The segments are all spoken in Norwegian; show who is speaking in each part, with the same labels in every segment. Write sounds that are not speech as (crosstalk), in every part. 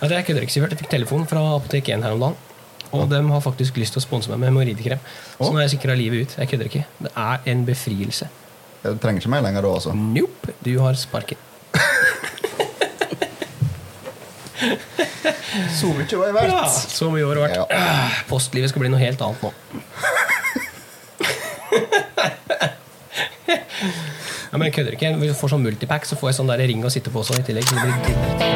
Speaker 1: Altså, jeg kødder ikke, Sivert. Jeg fikk telefon fra Apotek 1 her om dagen. Og de har faktisk lyst til å sponse meg med hemoroidekrem. Så
Speaker 2: Å.
Speaker 1: nå er jeg sikra livet ut. Jeg kødder ikke. Det er en befrielse.
Speaker 2: Jeg trenger ikke meg lenger da, altså.
Speaker 1: Nope, du har sparken.
Speaker 2: Så mye var jeg
Speaker 1: Ja, så mye år har vært. Ah, Postlivet skal bli noe helt
Speaker 2: (laughs)
Speaker 1: annet nå. ja, men jeg kødder ikke. Hvis jeg får sånn multipack, så får jeg sånn der ring å sitte på også i tillegg. Så det blir dritt.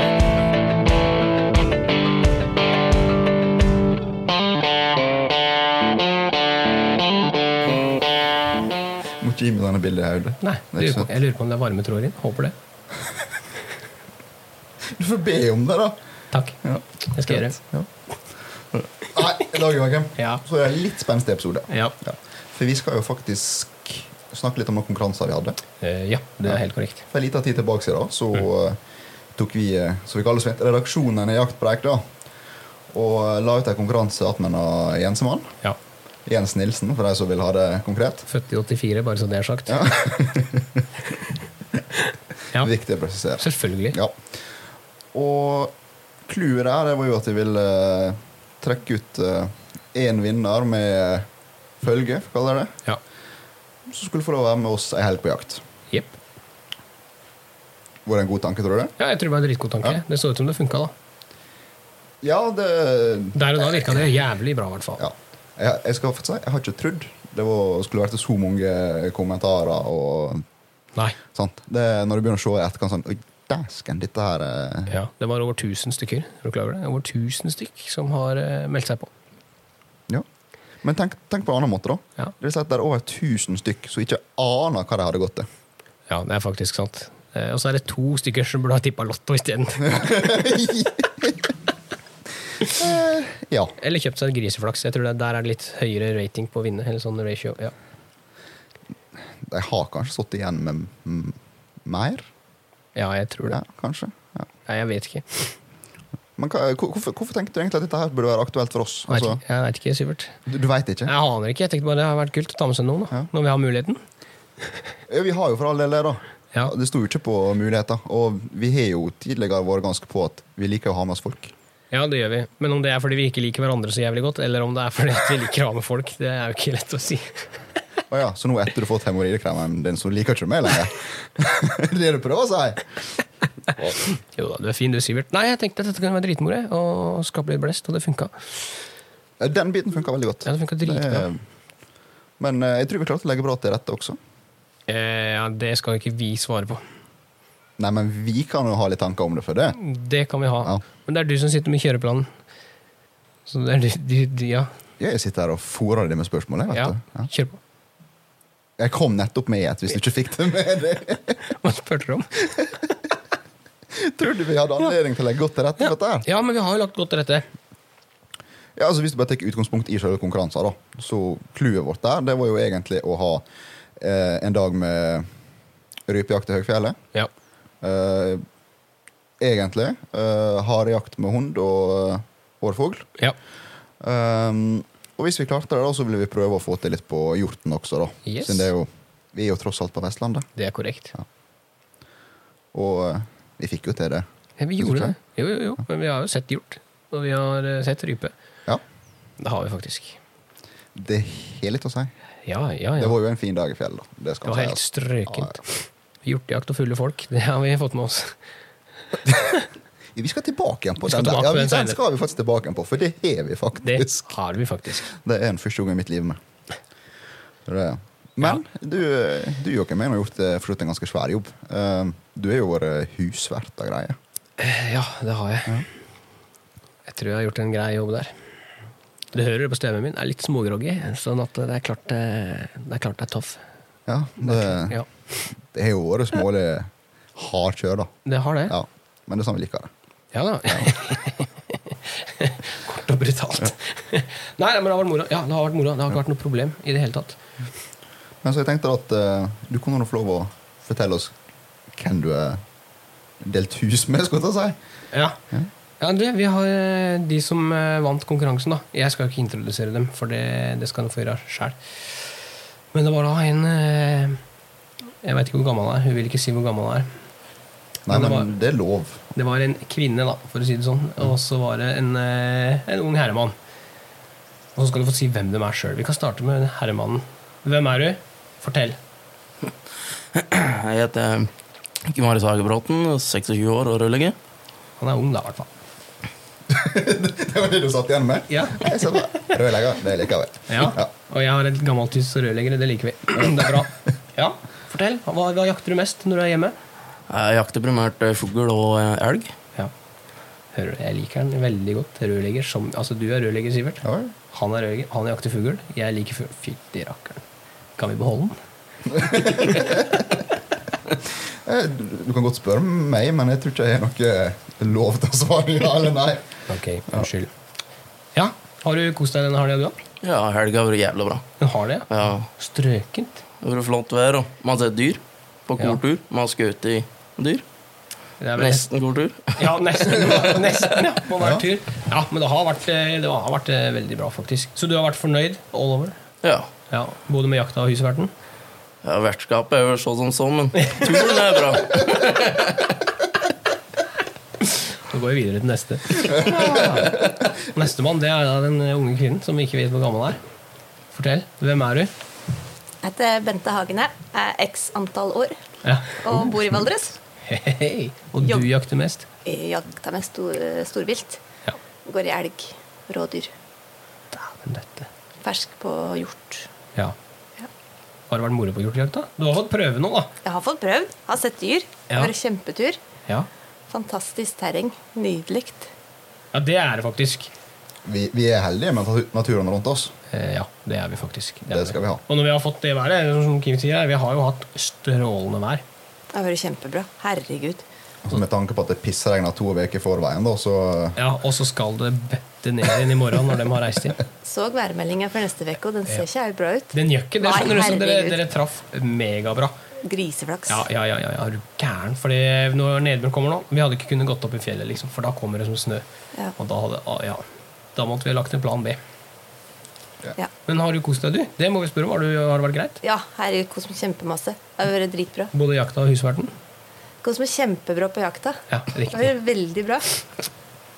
Speaker 2: Må ikke gi meg denne bildet i hodet.
Speaker 1: Nei,
Speaker 2: Det er
Speaker 1: jeg
Speaker 2: ikke
Speaker 1: lurer, på,
Speaker 2: sant.
Speaker 1: jeg lurer på om det er varmetråder inn. Håper det.
Speaker 2: sånn. Du får be om det, da.
Speaker 1: Takk.
Speaker 2: Ja.
Speaker 1: Jeg skal gjøre.
Speaker 2: Ja. Nei, i dag, Joakim,
Speaker 1: Ja.
Speaker 2: så er det en litt spenstig episode.
Speaker 1: Ja.
Speaker 2: Ja. For vi skal jo faktisk snakke litt om noen konkurranser vi hadde.
Speaker 1: Eh, ja, det
Speaker 2: Ja.
Speaker 1: er helt korrekt.
Speaker 2: For en liten tid tilbake siden, da, så
Speaker 1: Mm.
Speaker 2: eh, tok vi eh, så vi kaller det, redaksjonen i Jaktpreik da, og eh, la ut en konkurranse attmed Jensemann.
Speaker 1: Ja.
Speaker 2: Jens Nilsen, for de som vil ha det konkret.
Speaker 1: Født i 84, bare så det er sagt.
Speaker 2: Ja. (laughs)
Speaker 1: Ja,
Speaker 2: Viktig å presisere.
Speaker 1: Selvfølgelig.
Speaker 2: Ja. Og clouet der det var jo at vi ville eh, trekke ut én vinner med følge, for å kalle det det.
Speaker 1: Ja.
Speaker 2: Så skulle få lov å være med oss ei helg på jakt.
Speaker 1: Jepp.
Speaker 2: Var det en god tanke, tror du?
Speaker 1: Ja, jeg tror det var en dritgod tanke.
Speaker 2: Ja.
Speaker 1: Det så ut som det funka, da.
Speaker 2: Ja, det
Speaker 1: Der og da virka det jævlig bra, i hvert fall.
Speaker 2: ja. Jeg, jeg skal faktisk si, jeg har ikke trodd det var, skulle vært så mange kommentarer og
Speaker 1: Nei.
Speaker 2: sånt. Det, når du begynner å se i etterkant sånn Oi, dæsken, dette her eh,
Speaker 1: Ja, Det var over 1000 stykker er du klar over det? Over 1000 stykk som har eh, meldt seg på.
Speaker 2: Ja. Men tenk, tenk på en annen måte, da.
Speaker 1: Ja.
Speaker 2: Det vil si at det er over 1000 stykk som ikke aner hva de hadde gått til.
Speaker 1: ja, det er faktisk sant. Eh, Og så er det to stykker som burde ha tippa Lotto isteden.
Speaker 2: (laughs) Eh, ja.
Speaker 1: Eller kjøpt seg en griseflaks. Jeg tror det, Der er det litt høyere rating på å vinne. Eller sånn ratio. Ja.
Speaker 2: De har kanskje sittet igjen med mm, mer?
Speaker 1: ja, jeg tror det.
Speaker 2: Ja, kanskje. Ja.
Speaker 1: Nei, jeg vet ikke.
Speaker 2: Men hva, hvor- hvorfor, hvorfor tenkte du egentlig at dette her burde være aktuelt for oss?
Speaker 1: Jeg vet
Speaker 2: Altså,
Speaker 1: ikke, jeg vet ikke Sivert.
Speaker 2: du du veit ikke?
Speaker 1: Jeg aner ikke. Jeg tenkte bare det har vært kult å ta med seg noen da,
Speaker 2: Ja.
Speaker 1: når vi har muligheten.
Speaker 2: Ja, vi har jo for all del det, da.
Speaker 1: Ja.
Speaker 2: Det sto jo ikke på muligheter. Og vi har jo tidligere vært ganske på at vi liker å ha med oss folk.
Speaker 1: ja, det gjør vi. Men om det er fordi vi ikke liker hverandre så jævlig godt, eller om det er fordi at vi liker å ha med folk, det er jo ikke lett å si.
Speaker 2: Å ja, Så nå etter du har fått hemoroidekremen din, så liker ikke du meg lenger? (laughs) det er det du prøver å si?
Speaker 1: Jo da, du er fin du, Sivert. Nei, jeg tenkte at dette kunne være dritmoro jeg, og skape litt blest, og det funka.
Speaker 2: Ja, Den biten funka veldig godt.
Speaker 1: Ja, det funka dritbra.
Speaker 2: Eh, Men eh, jeg tror vi klarte å legge bra til rette også.
Speaker 1: Eh, ja, det skal ikke vi svare på.
Speaker 2: Nei, men vi kan jo ha litt tanker om det for det.
Speaker 1: Det kan vi ha.
Speaker 2: Ja.
Speaker 1: Men det er du som sitter med kjøreplanen. Så det er du, du, du ja.
Speaker 2: Jeg sitter her og fôrer det med spørsmål. Jeg, vet
Speaker 1: ja.
Speaker 2: du. Ja.
Speaker 1: Kjør på. (laughs)
Speaker 2: jeg kom nettopp med et, hvis du ikke fikk det med deg.
Speaker 1: Hva spurte du om?
Speaker 2: Trodde vi hadde anledning til å legge godt til rette for dette her.
Speaker 1: Ja, men vi har jo lagt godt til rette.
Speaker 2: Ja, altså Hvis du bare tar utgangspunkt i selve konkurransen, da, så clouet vårt der det var jo egentlig å ha eh, en dag med rypejakt i høgfjellet.
Speaker 1: Ja.
Speaker 2: Eh, egentlig. Eh, Harejakt med hund og eh, hårfugl.
Speaker 1: ja.
Speaker 2: Um, og hvis vi klarte det, da, så ville vi prøve å få til litt på hjorten også. da.
Speaker 1: Yes.
Speaker 2: Siden det er jo, vi er jo tross alt på Vestlandet.
Speaker 1: Det er korrekt.
Speaker 2: Og eh, vi fikk jo til det.
Speaker 1: Ja, vi gjorde det. Jo, jo, jo. Men vi har jo sett hjort. Og vi har eh, sett rype.
Speaker 2: Ja,
Speaker 1: Det har vi faktisk.
Speaker 2: Det har litt å si.
Speaker 1: Ja, Ah, ja, ja.
Speaker 2: Det var jo en fin dag i fjellet. da. Det
Speaker 1: Det
Speaker 2: skal
Speaker 1: var helt
Speaker 2: sies.
Speaker 1: strøkent. Hjortejakt og fulle folk, det har vi fått med oss.
Speaker 2: (laughs) Vi skal tilbake igjen på
Speaker 1: Vi skal
Speaker 2: den. der.
Speaker 1: tilbake
Speaker 2: Ja,
Speaker 1: på den
Speaker 2: den
Speaker 1: senere.
Speaker 2: skal vi faktisk tilbake igjen på, for det har vi
Speaker 1: Det
Speaker 2: faktisk.
Speaker 1: har vi faktisk.
Speaker 2: Det, er en første gang i mitt liv med. Så Det. Men du, du Joakim, jeg har gjort eh, for så vidt en ganske svær jobb. Um, du er jo vår eh, husvert av greier.
Speaker 1: Eh, Ja, det har jeg. Jeg tror jeg har gjort en grei jobb der. Du hører det på stemmen min. Jeg er litt smågroggy, sånn at det er klart eh, det er, klart det er tøff.
Speaker 2: Ja, det,
Speaker 1: Ja,
Speaker 2: det har jo vært smålig hard kjør, da.
Speaker 1: det har det. Ja,
Speaker 2: Ja, men det er sånn vi liker det.
Speaker 1: da. (laughs) Kort og brutalt. Nei, men det har vært moro. Ja, det har vært moro. Det har ikke vært noe problem i det hele tatt.
Speaker 2: Men så jeg tenkte at eh, du kunne nå få lov å fortelle oss hvem du er delt hus med, skulle jeg til å si.
Speaker 1: Ja. Ja, du, vi har eh, de som eh, vant konkurransen, da. Jeg skal ikke introdusere dem, for det, det skal de få gjøre sjæl. Men det var da en eh, Jeg veit ikke hvor gammel han er, hun vil ikke si hvor gammel han er.
Speaker 2: Nei,
Speaker 1: Men det
Speaker 2: men det er lov.
Speaker 1: Det var en kvinne, da, for å si det sånn. Og så var det en, eh, en ung herremann. Og så skal du få si hvem de er sjøl. Vi kan starte med herremannen. Hvem er du? Fortell.
Speaker 3: Jeg heter Kim Arild Hagebråten, 26 år og rødlegge.
Speaker 1: Han er ung, da, i hvert fall.
Speaker 2: Det var det du satt igjen med?
Speaker 1: Ja.
Speaker 2: Jeg ser det. Rødlegger, det liker jeg.
Speaker 1: Ja.
Speaker 2: Ja.
Speaker 1: Og jeg har et gammelt hus og rørleggere. Det liker vi. (clears throat) Det er bra. Ja, Fortell. Hva, hva jakter du mest når du er hjemme?
Speaker 3: Jeg jakter primært eh, fugl og eh, elg.
Speaker 1: Ja. Hører du, Jeg liker den veldig godt. Rørlegger som Altså, du er rørlegger, Sivert.
Speaker 2: Ja vel.
Speaker 1: Han er rørlegger. Han jakter fugl. Jeg liker fugl. Fytti rakkeren. Kan vi beholde den?
Speaker 2: Eh, Du du kan godt spørre meg, men jeg tror ikke jeg har noe eh, lov til å svare ja eller nei.
Speaker 1: Ok, unnskyld. Ja, har du kost deg denne helga, du òg?
Speaker 3: Ja, helga har vært jævla bra.
Speaker 1: Den har det, ja.
Speaker 3: Ja,
Speaker 1: Strøkent.
Speaker 3: det har vært flott vær, og man har sett dyr på
Speaker 1: Ja.
Speaker 3: kortur. Man har skutt i dyr.
Speaker 1: Det er vel-
Speaker 3: Nesten kortur. (laughs)
Speaker 1: Ja, nesten, (laughs) nesten ja, på hver tur. Ja, Men det har vært, eh, det har vært eh, veldig bra, faktisk. Så du har vært fornøyd all over?
Speaker 3: Ja.
Speaker 1: Ja, Både med jakta og husverten?
Speaker 3: ja Vertskapet er jo så som så, men turen er
Speaker 1: (laughs)
Speaker 3: bra.
Speaker 1: Så går vi videre til
Speaker 2: (laughs)
Speaker 1: neste. Ja. Nestemann det er da den unge kvinnen som vi ikke vet hvor gammel er. Fortell. Hvem er du?
Speaker 4: Jeg heter eh, Bente Hagene, er x antall år
Speaker 1: Ja.
Speaker 4: og bor i Valdres.
Speaker 1: Hei, hei. Og du
Speaker 4: Ja.
Speaker 1: jakter mest?
Speaker 4: Jeg Jakter med stor, storvilt.
Speaker 1: Ja.
Speaker 4: Går i elg, rådyr.
Speaker 1: Dæven døtte.
Speaker 4: Fersk på hjort.
Speaker 1: Ja.
Speaker 4: Ja.
Speaker 1: Har det vært moro på hjortejakt, da? Du har fått prøve nå, da.
Speaker 4: Jeg har fått prøvd, har sett dyr. Det
Speaker 1: Ja.
Speaker 4: har vært kjempetur.
Speaker 1: Ja.
Speaker 4: Fantastisk terreng. Nydelig.
Speaker 1: ja, det er det faktisk.
Speaker 2: Vi, vi er heldige med natu- naturen rundt oss.
Speaker 1: Eh, ja, det er vi faktisk. er
Speaker 2: Det skal vi ha.
Speaker 1: Og når vi har fått det været, eller som Kim sier, vi har jo hatt strålende vær.
Speaker 4: Det har vært kjempebra. Herregud.
Speaker 2: Altså, med tanke på at det pissregner to uker i forveien, da, så
Speaker 1: Ja, Og så skal det bøtte ned igjen i morgen når de har reist inn.
Speaker 4: Så værmeldinga for neste uke, og den ser ikke helt bra ut.
Speaker 1: Den gjør ikke det.
Speaker 4: Nei,
Speaker 1: skjønner du, så dere,
Speaker 4: herregud.
Speaker 1: dere traff megabra.
Speaker 4: Griseflaks.
Speaker 1: Ja, ja, ja, ja, ja, er du gæren? Fordi når nedbøren kommer nå Vi hadde ikke kunnet gått opp i fjellet, liksom, for da kommer det som snø.
Speaker 4: Ja.
Speaker 1: Og da hadde ah, Ja. Da måtte vi ha lagt en plan B.
Speaker 4: Ja.
Speaker 1: Men har du kost deg, du? Det må vi spørre om. Har, du, har det vært greit?
Speaker 4: Ja, herregud, kost meg kjempemasse. Det har vært dritbra.
Speaker 1: Både jakta og husverten?
Speaker 4: Kost meg kjempebra på jakta.
Speaker 1: Ja,
Speaker 4: Det
Speaker 1: riktig.
Speaker 4: har vært veldig bra.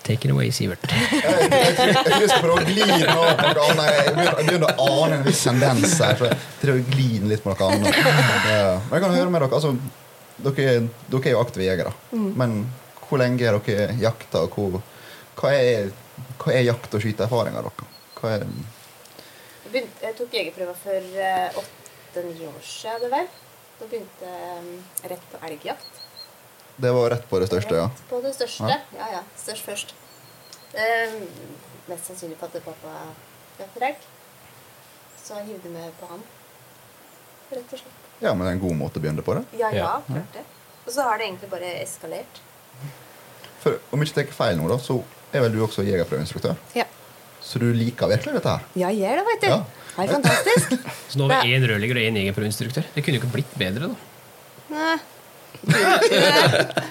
Speaker 1: Take it away, Sivert.
Speaker 2: Jeg tror jeg skal prøve å gli nå på noe annet. Jeg begynner, jeg begynner å ane en viss tendens her. Så jeg tror jeg glir litt på noe annet. Eh, Men jeg kan høre med dere. Altså, dere, er- dere er jo aktive jegere. Men hvor lenge har dere jakta, og hvor, hva, er, hva er jakt- og skyteerfaringa deres? Hva er
Speaker 5: Jeg begynte- Jeg tok jegerprøva for eh, åtte-ni år siden, det vel. Da begynte jeg rett på elgjakt.
Speaker 2: Det var rett på det største, ja.
Speaker 5: Rett på det største.
Speaker 2: Ja.
Speaker 5: Ja, ja. størst først. Ehm, mest sannsynlig på at pappa jakter elg. Så jeg hivde meg på han. Rett og slett.
Speaker 2: Ja, men det er en god måte å begynne på det.
Speaker 5: Ja, ja,
Speaker 1: Ja.
Speaker 5: klart det. Og så har det egentlig bare eskalert.
Speaker 2: For om jeg ikke tar feil nå, da, så er vel du også jegerprøveinstruktør.
Speaker 5: Ja.
Speaker 2: Så du liker virkelig dette her?
Speaker 5: Ja, jeg gjør det, veit du.
Speaker 2: Ja.
Speaker 5: Det er fantastisk.
Speaker 1: Så nå har vi én rørlegger og én jegerprøveinstruktør. Det kunne jo ikke blitt bedre, da.
Speaker 5: Nei.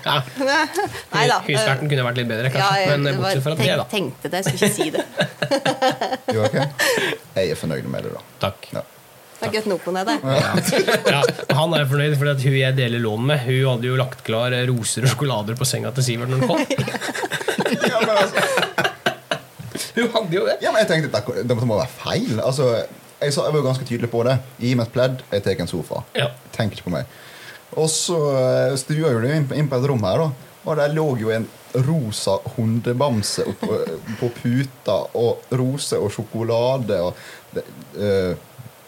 Speaker 1: Ja,
Speaker 4: Nei da.
Speaker 1: Husverten kunne vært litt bedre,
Speaker 4: eh, Ja,
Speaker 1: kanskje.
Speaker 4: jeg
Speaker 1: men eh,
Speaker 4: bare
Speaker 1: bortsett fra det,
Speaker 4: tenk-
Speaker 1: da.
Speaker 4: tenkte det, jeg skulle ikke si det.
Speaker 2: Jo, ok? Jeg er fornøyd med det, da.
Speaker 1: Takk.
Speaker 2: Ja.
Speaker 4: Det er godt nok med det.
Speaker 1: Ja, Han er fornøyd, for hun jeg deler lån med, hun hadde jo lagt klar eh, roser og sjokolader på senga til Sivert når han kom.
Speaker 2: Ja, men, altså,
Speaker 1: Hun hadde jo det.
Speaker 2: ja, men jeg tenkte dette- dette må være feil. Altså, jeg, sa, jeg var jo ganske tydelig på det. Gi meg et pledd, jeg tar en sofa.
Speaker 1: Ja.
Speaker 2: Tenk ikke på meg. Og så eh, stua jo det inn, inn på et rom her, da. Og der lå jo en rosa hundebamse oppå, på puta, og roser og sjokolade og det, eh,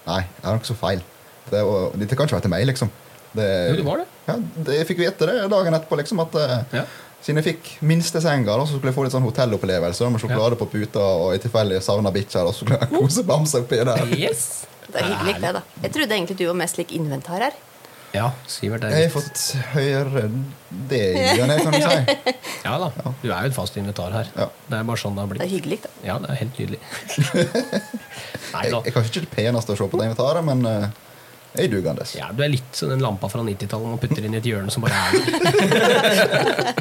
Speaker 2: Nei, jeg har noe så feil. Det, var- dette kan ikke være til meg, liksom. Det,
Speaker 1: Jo, det var det.
Speaker 2: Ja, det jeg fikk vite det dagen etterpå, liksom, at eh,
Speaker 1: Ja.
Speaker 2: siden jeg fikk minste senga, da, så skulle jeg få litt sånn hotellopplevelse med sjokolade på puta, og i tilfelle jeg savna bikkja, da, så skulle jeg ha en kosebamse oppi der.
Speaker 1: Yes.
Speaker 4: Det er hyggelig, det, da. Jeg trodde egentlig du var mest lik inventar her.
Speaker 1: Ja, Sivert er
Speaker 2: Jeg har
Speaker 1: litt
Speaker 2: fått høre det igjen, kan du si.
Speaker 1: Ja da. Du er jo et fast invitar her.
Speaker 2: Ja.
Speaker 1: Det er bare sånn det har
Speaker 4: Det er
Speaker 1: blitt.
Speaker 4: hyggelig, da.
Speaker 1: Ja, det er helt nydelig. Nei
Speaker 2: (laughs) Jeg,
Speaker 1: da.
Speaker 2: jeg er kanskje ikke det peneste å se på det inventaret, men eh, jeg er dugende.
Speaker 1: Ja, du er litt som den lampa fra 90-tallet man putter inn i et hjørne som bare er (laughs) der.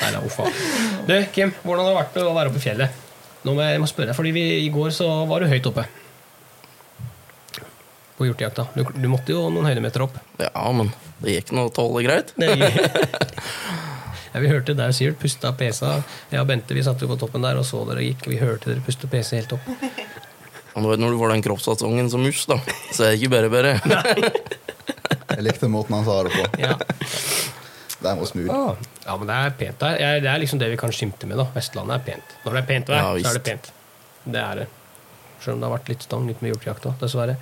Speaker 1: Nei, da, uffa. Du, Kim, hvordan har det vært å være oppe i fjellet? Nå må jeg, jeg må spørre deg, fordi vi, I går så var du høyt oppe. På hjortejakta. Du, du måtte jo noen høydemeter opp.
Speaker 3: Ja, men Det gikk nå tålelig greit.
Speaker 1: Det (laughs) ja, vi hørte deg, Sivert, puste av pesa. Jeg og Bente vi satt jo på toppen der og så dere gikk. Vi hørte dere puste pesa helt opp.
Speaker 3: Men du vet, når du får den kroppsfasongen som mus, da, så er det ikke bare bare.
Speaker 1: (laughs)
Speaker 2: Jeg likte måten han sa det på.
Speaker 1: Ja,
Speaker 2: Den var smooth.
Speaker 1: ja men det er pent der. Jeg- Det er liksom det vi kan skimte med. da. Vestlandet er pent. Når det er pent vær,
Speaker 3: Ja,
Speaker 1: så er det
Speaker 3: visst.
Speaker 1: pent. Det er det. Selv om det har vært litt stang litt med hjortejakt òg, dessverre.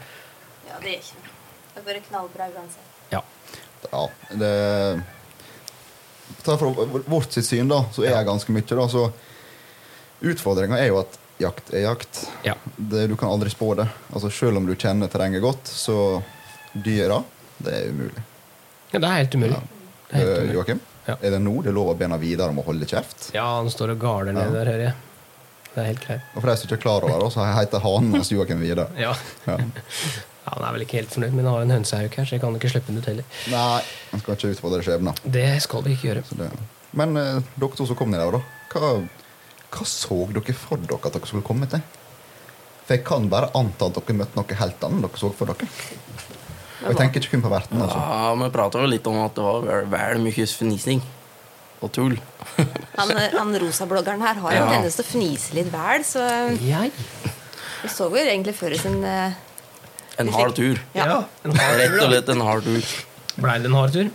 Speaker 5: Ja, det er ikke noe. Det er bare knallbra uansett.
Speaker 1: Ja.
Speaker 2: Ja, det Ta fra vårt sitt syn, da, så er jeg ganske mye, da. Så utfordringa er jo at jakt er jakt.
Speaker 1: Ja.
Speaker 2: Det, du kan aldri spå det. Altså Selv om du kjenner terrenget godt, så dyra Det er umulig.
Speaker 1: ja det er helt umulig. Det er helt
Speaker 2: Eh,
Speaker 1: umulig.
Speaker 2: Joakim,
Speaker 1: Ja.
Speaker 2: er det nå det er lov å be videre om å holde kjeft?
Speaker 1: Ja, han står og garder ned
Speaker 2: Ja.
Speaker 1: der, hører jeg. Det er helt greit.
Speaker 2: Og for de som ikke er klar over det, så heter hanen hans Joakim Vidar.
Speaker 1: Ja.
Speaker 2: Ja.
Speaker 1: ja, Han er vel ikke helt fornøyd, men han har jo en hønsehauk her, så jeg kan jo ikke slippe den ut heller.
Speaker 2: Nei, han skal ikke utfordre skjebnen.
Speaker 1: Det skal vi ikke gjøre.
Speaker 2: Så det. Men eh, dere to som kom ned der, da. Hva, hva så dere for dere at dere skulle komme til? For jeg kan bare anta at dere møtte noe helt annet enn dere så for dere. Og jeg tenker ikke kun på verten, altså.
Speaker 3: Ja, Vi prata jo litt om at det var vel, vel mye fnising og tull.
Speaker 4: Han, han rosabloggeren her har jo
Speaker 3: Ja.
Speaker 4: en tendens til å fnise litt vel, så
Speaker 1: Jeg?
Speaker 4: vi så jo egentlig før i sin eh,
Speaker 3: En hard tur.
Speaker 4: Ja.
Speaker 1: En hard
Speaker 3: Rett og
Speaker 1: tur, da.
Speaker 3: slett en hard tur.
Speaker 1: Blei det en hard tur?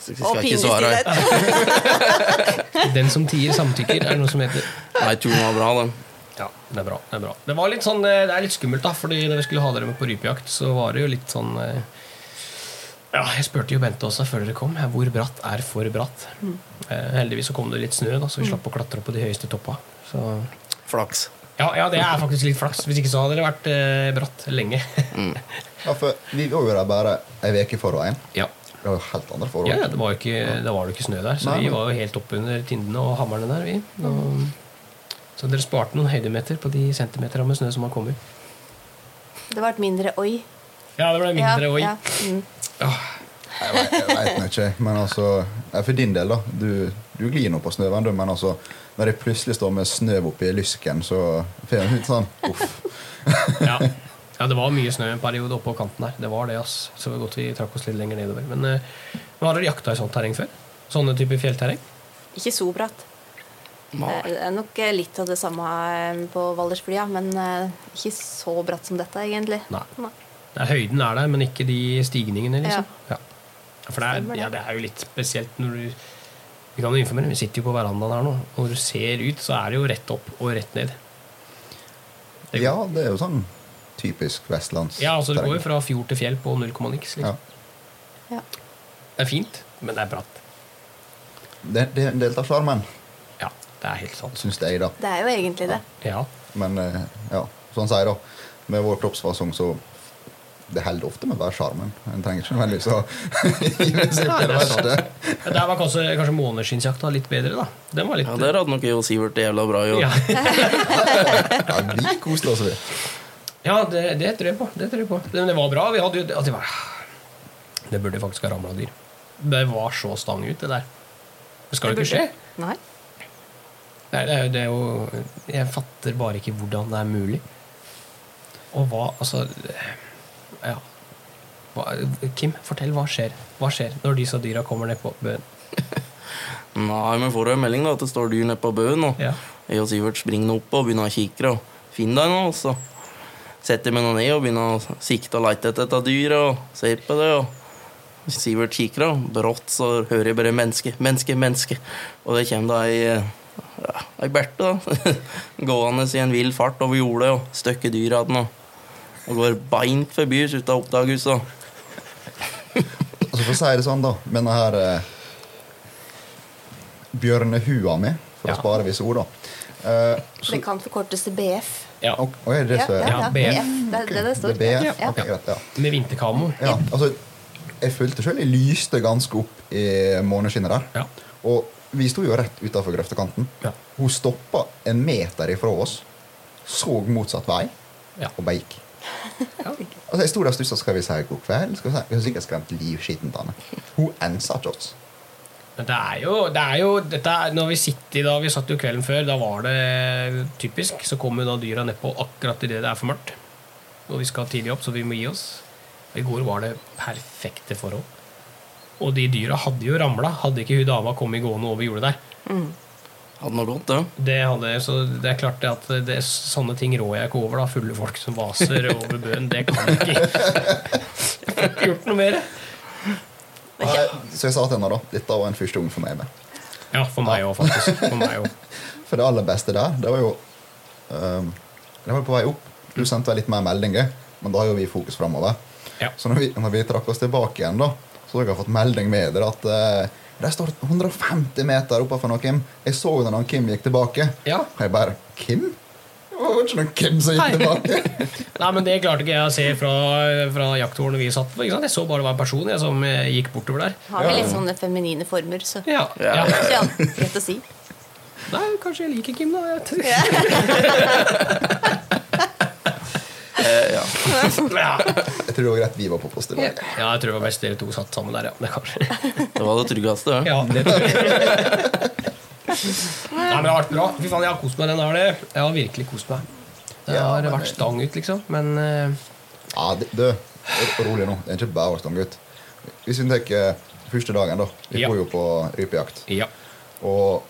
Speaker 3: Så jeg
Speaker 4: Og
Speaker 3: skal ikke svare.
Speaker 4: pinestillhet.
Speaker 1: Den som tier, samtykker, er det noe som heter.
Speaker 3: Nei, turen var bra, den.
Speaker 1: Ja, det er bra. Det er bra. Det, var litt sånn, eh, det er litt skummelt, da, fordi da vi skulle ha dere med på rypejakt, så var det jo litt sånn eh, Ja, jeg spurte jo Bente også før dere kom. eh, Hvor bratt er for bratt? Eh, heldigvis så kom det litt snø, da, så vi slapp å klatre opp på de høyeste toppa. Så
Speaker 3: Flaks.
Speaker 1: ja, ja, det er faktisk litt flaks. Hvis ikke så hadde det vært eh, bratt lenge.
Speaker 2: Ja, for vi var jo der bare ei uke i forveien.
Speaker 1: (laughs) ja.
Speaker 2: Det var jo helt andre
Speaker 1: ja,
Speaker 2: forhold.
Speaker 1: ja, det var jo ikke, da var det jo ikke snø der, så
Speaker 2: Nei,
Speaker 1: vi
Speaker 2: nei.
Speaker 1: var jo helt oppunder tindene og hammerne der, vi. Og, så dere sparte noen høydemeter på de centimeterne med snø som har kommet.
Speaker 4: Det var et mindre oi.
Speaker 1: Ja, det ble mindre oi.
Speaker 4: Ja, mm.
Speaker 1: Ah.
Speaker 2: Jeg vet- jeg vet nå ikke, men altså ja, For din del, da. Du, du glir nå på snøen, du, men altså når jeg plutselig står med snøv oppi lysken, så får jeg litt sånn uff.
Speaker 1: ja. ja, det var mye snø en periode oppå kanten her. Det var det, ass. Så det var godt vi trakk oss litt lenger nedover. Men eh, men har dere jakta i sånt terreng før? Sånne typer fjellterreng?
Speaker 4: Ikke så bratt. Eh,
Speaker 3: Nei.
Speaker 4: Det er nok eh, litt av det samme eh, på Valdersblia, men eh, ikke så bratt som dette, egentlig.
Speaker 1: Nei. Det er høyden er der, men ikke de stigningene, liksom. Ja. For det
Speaker 4: Stemmer
Speaker 1: er,
Speaker 4: det.
Speaker 1: ja, det er jo litt spesielt når du Vi kan jo informere, vi sitter jo på verandaen her nå. Og Når du ser ut, så er det jo rett opp og rett ned. Det går-
Speaker 2: Ja, det er jo sånn typisk vestlands
Speaker 1: Ja, altså Det går
Speaker 2: terreng.
Speaker 1: jo fra fjord til fjell på null komma niks.
Speaker 2: Ja.
Speaker 1: Liksom.
Speaker 4: Ja.
Speaker 1: Det er fint, men det er bratt.
Speaker 2: Det, det er en del av sjarmen,
Speaker 1: Ja, det er helt sant.
Speaker 2: syns jeg, da.
Speaker 4: Det er jo egentlig det.
Speaker 1: Ja.
Speaker 2: Men eh, ja, som han sier, da. Med vår kroppsfasong, så Det holder ofte med å være sjarmen. En trenger ikke nødvendigvis å hive seg opp i (laughs) det verste.
Speaker 1: Ja, Der var kanskje, kanskje måneskinnsjakta litt bedre, da. Den var litt
Speaker 3: Ja, Der hadde nok jeg og Sivert det jævla bra. Jo.
Speaker 1: Ja,
Speaker 2: Ja, vi koste oss, vi.
Speaker 1: (laughs) ja det, det tror jeg på. Det tror jeg på. Men det var bra. Vi hadde jo at det, var, det burde faktisk ha ramla dyr. Det var så stang ut, det der. Det skal jo ikke skje.
Speaker 4: Nei.
Speaker 1: Nei, det er jo, det er jo Jeg fatter bare ikke hvordan det er mulig. Og hva Altså Ja. Hva, Kim, fortell. Hva skjer Hva skjer når disse dyra kommer nedpå bøen?
Speaker 3: Nei, men får du en melding da at det står dyr nede på bøen, og
Speaker 1: Ja.
Speaker 3: jeg og Sivert springer opp og begynner å kikke. og Finn deg nå, og så setter jeg meg nå ned og begynner å sikte og lete etter dette dyret og ser på det. og Sivert kikker, og brått så hører jeg bare 'menneske, menneske, menneske'. Og det kommer da ei eh, ja, ei Berthe, da. (laughs) Gående i en vill fart over jordet og støkker dyret igjen. Og, og går beint forbi oss uten oppdagelse. og-
Speaker 2: Altså, for å si det sånn, da, med denne her eh, bjørnehua mi, for
Speaker 1: Ja.
Speaker 2: å spare visse ord, da. Eh, så,
Speaker 4: Det kan forkortes til BF.
Speaker 1: Ja.
Speaker 2: og, og er det det som er
Speaker 1: Ja, BF.
Speaker 4: Det er det det
Speaker 2: Det
Speaker 4: står.
Speaker 2: er BF?
Speaker 4: Ja.
Speaker 2: Ok, greit. Ja.
Speaker 1: Med vinterkamo.
Speaker 2: Ja, altså Jeg følte selv jeg lyste ganske opp i måneskinnet der.
Speaker 1: Ja.
Speaker 2: Og vi sto jo rett utafor grøftekanten.
Speaker 1: Ja.
Speaker 2: Hun stoppa en meter ifra oss, så motsatt vei,
Speaker 1: Ja.
Speaker 2: og bare gikk.
Speaker 1: Ja.
Speaker 2: Altså Jeg sto der og stussa. Skal vi si god kveld? Skal vi si? Hun har sikkert skremt livskittent av henne. Hun ensa ikke oss.
Speaker 1: Men det er jo, det er jo dette er, Når vi sitter da, vi satt jo kvelden før, da var det typisk. Så kommer jo da dyra nedpå akkurat idet det er for mørkt. Og vi skal tidlig opp, så vi må gi oss. I går var det perfekte forhold. Og de dyra hadde jo ramla, hadde ikke hun dama kommet gående over jordet der.
Speaker 3: Hadde noe
Speaker 1: (laughs)
Speaker 3: godt, det.
Speaker 1: Det hadde, så det er klart det at det, sånne ting rår jeg ikke over. da Fulle folk som vaser over bøen, det kan jeg ikke. Jeg får ikke gjort noe mer.
Speaker 2: Nei, Eh, Så jeg sa til henne da dette var en første gang for meg. men.
Speaker 1: Ja, for meg òg, faktisk. For meg også.
Speaker 2: For det aller beste der, det var jo ehm, Det var jo på vei opp. Du sendte vel litt mer meldinger, men da har jo vi fokus framover.
Speaker 1: Ja.
Speaker 2: Så når vi, når vi trakk oss tilbake igjen, da så har jeg fått melding med dere at eh, de står 150 meter oppe for noen Kim. Jeg så jo da han Kim gikk tilbake.
Speaker 1: Ja.
Speaker 2: Og jeg bare Kim? Det var jo ikke noen Kim som
Speaker 1: Nei.
Speaker 2: gikk tilbake.
Speaker 1: Nei, men Det klarte ikke jeg å se fra, fra jakthårene vi satt på. ikke sant? Jeg så bare det var en person jeg, som eh, gikk bortover der.
Speaker 4: Har vi litt sånne feminine former, så
Speaker 1: Ja, ja.
Speaker 4: Det er ikke alltid greit å si. (laughs)
Speaker 1: Nei, kanskje jeg liker Kim, da. Jeg vet ikke.
Speaker 3: Eh, ja.
Speaker 1: Ja.
Speaker 2: Jeg tror det var greit vi var på post i dag.
Speaker 1: ja, jeg tror det var best dere to satt sammen der, ja. Det kanskje.
Speaker 3: Det var det tryggeste, det.
Speaker 1: (laughs) Ja, det tror jeg. Nei, men det har vært bra. Fy faen, jeg har kost meg den her. det. Jeg har virkelig kost meg. Det
Speaker 2: Ja,
Speaker 1: har
Speaker 2: men-
Speaker 1: vært stang ut, liksom. Men eh,
Speaker 2: Ja, det- du, ro- rolig nå. Det er ikke bare Stang, gutt. Hvis vi tar eh, første dagen, da. Vi
Speaker 1: Ja.
Speaker 2: går jo på rypejakt.
Speaker 1: ja.
Speaker 2: Og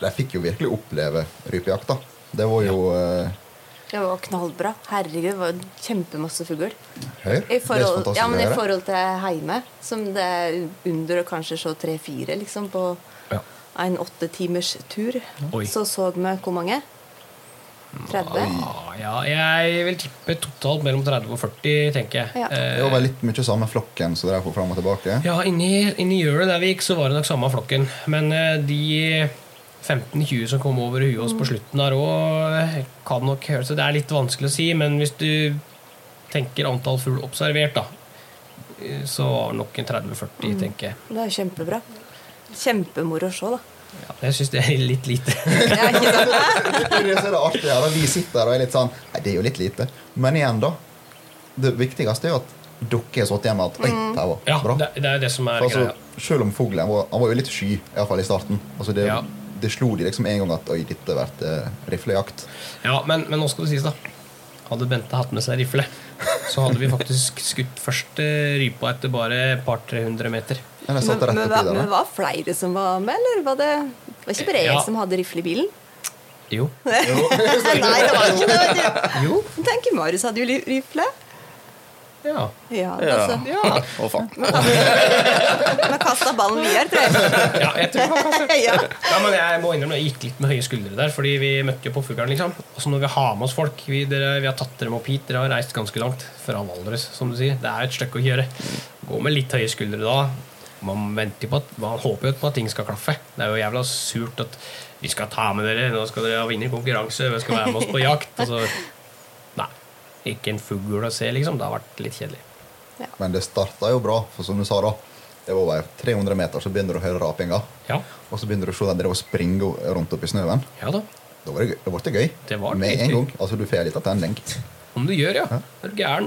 Speaker 2: de fikk jo virkelig oppleve rypejakt, da. Det var jo eh,
Speaker 4: Det var knallbra. Herregud, det var jo kjempemasse fugl.
Speaker 2: høyr.
Speaker 4: I
Speaker 2: Det er så
Speaker 4: forhold,
Speaker 2: fantastisk
Speaker 4: ja,
Speaker 2: å
Speaker 4: men i
Speaker 2: høre.
Speaker 4: forhold til heime, som det er under og kanskje så tre-fire liksom, på
Speaker 1: ja.
Speaker 4: en åtte timers tur,
Speaker 1: Oi.
Speaker 4: så så vi hvor mange? 30?
Speaker 1: Ah, ja. Jeg vil tippe totalt mellom 30 og 40, tenker jeg. Eh,
Speaker 4: Ja.
Speaker 2: Det var vel litt mye samme flokken som drev på fram og tilbake.
Speaker 1: Ja, inni, inni hjulet der vi gikk, så var det nok samme flokken. Men eh, de 15-20 som kom over huet oss på slutten der òg, kan nok høre Så det er litt vanskelig å si, men hvis du tenker antall fugl observert, da, eh, så var det nok en 30-40, tenker jeg.
Speaker 4: Det er jo kjempebra. Kjempemoro å se,
Speaker 2: (laughs)
Speaker 4: da.
Speaker 1: Ja, jeg syns det er litt lite. (laughs)
Speaker 4: Ja, ikke sant?
Speaker 2: Det er så det artige her, da. Vi sitter her og er litt sånn Nei, det er jo litt lite. Men igjen, da. Det viktigste er jo at dere har satt igjen med at Oi, det her
Speaker 1: Mm. Ja,
Speaker 2: var bra.
Speaker 1: det, det er det som er
Speaker 2: altså,
Speaker 1: greia.
Speaker 2: selv om fuglen var, han var jo litt sky, iallfall i starten. Altså, det,
Speaker 1: Ja.
Speaker 2: det slo de liksom en gang at Oi, dette har vært eh, riflejakt.
Speaker 1: Ja, men, men nå skal det sies, da. Hadde Bente hatt med seg rifle, (laughs) så hadde vi faktisk skutt første rypa etter bare et par-tre hundre meter.
Speaker 2: Men jeg
Speaker 4: Men,
Speaker 2: satt rett
Speaker 4: men,
Speaker 2: oppi
Speaker 4: hva-
Speaker 2: der. da.
Speaker 4: men var det flere som var med, eller var det var ikke bare jeg
Speaker 1: Ja.
Speaker 4: som hadde rifle i bilen?
Speaker 1: Jo.
Speaker 4: Nei, det var ikke det. vet
Speaker 1: Jo.
Speaker 4: du. Tenk, Marius hadde jo li- rifle.
Speaker 1: Ja.
Speaker 4: Ja, altså.
Speaker 3: Ja. Å, faen.
Speaker 4: Vi kasta ballen videre, tror
Speaker 1: (laughs) ja jeg tror han kan
Speaker 4: jeg. (laughs) Ja.
Speaker 1: Ja, men jeg må innrømme Jeg gikk litt med høye skuldre der, fordi vi møtte jo på fuglen. Liksom. Og så når vi har med oss folk vi, dere, vi har tatt dere med opp hit. Dere har reist ganske langt fra Valdres, som du sier. Det er et stykke å kjøre. Gå med litt høye skuldre da. Man venter jo på at Man håper jo på at ting skal klaffe. Det er jo jævla surt at vi skal ta med dere, nå skal dere vinne konkurranse, dere skal være med oss på jakt. Og så Nei. Ikke en fugl å se, liksom. Det har vært litt kjedelig.
Speaker 2: Men det starta jo bra, for som du sa da det var over 300 meter, så begynner du å høre rapinga.
Speaker 1: Ja.
Speaker 2: Og så begynner du å se dem drive og springe rundt oppi snøen.
Speaker 1: Ja da.
Speaker 2: Da var det gøy. Da ble det gøy.
Speaker 1: Det var
Speaker 2: Med
Speaker 1: dritgøy.
Speaker 2: en gang. Altså, du får litt av tenning.
Speaker 1: Om du gjør, ja. Er du gæren?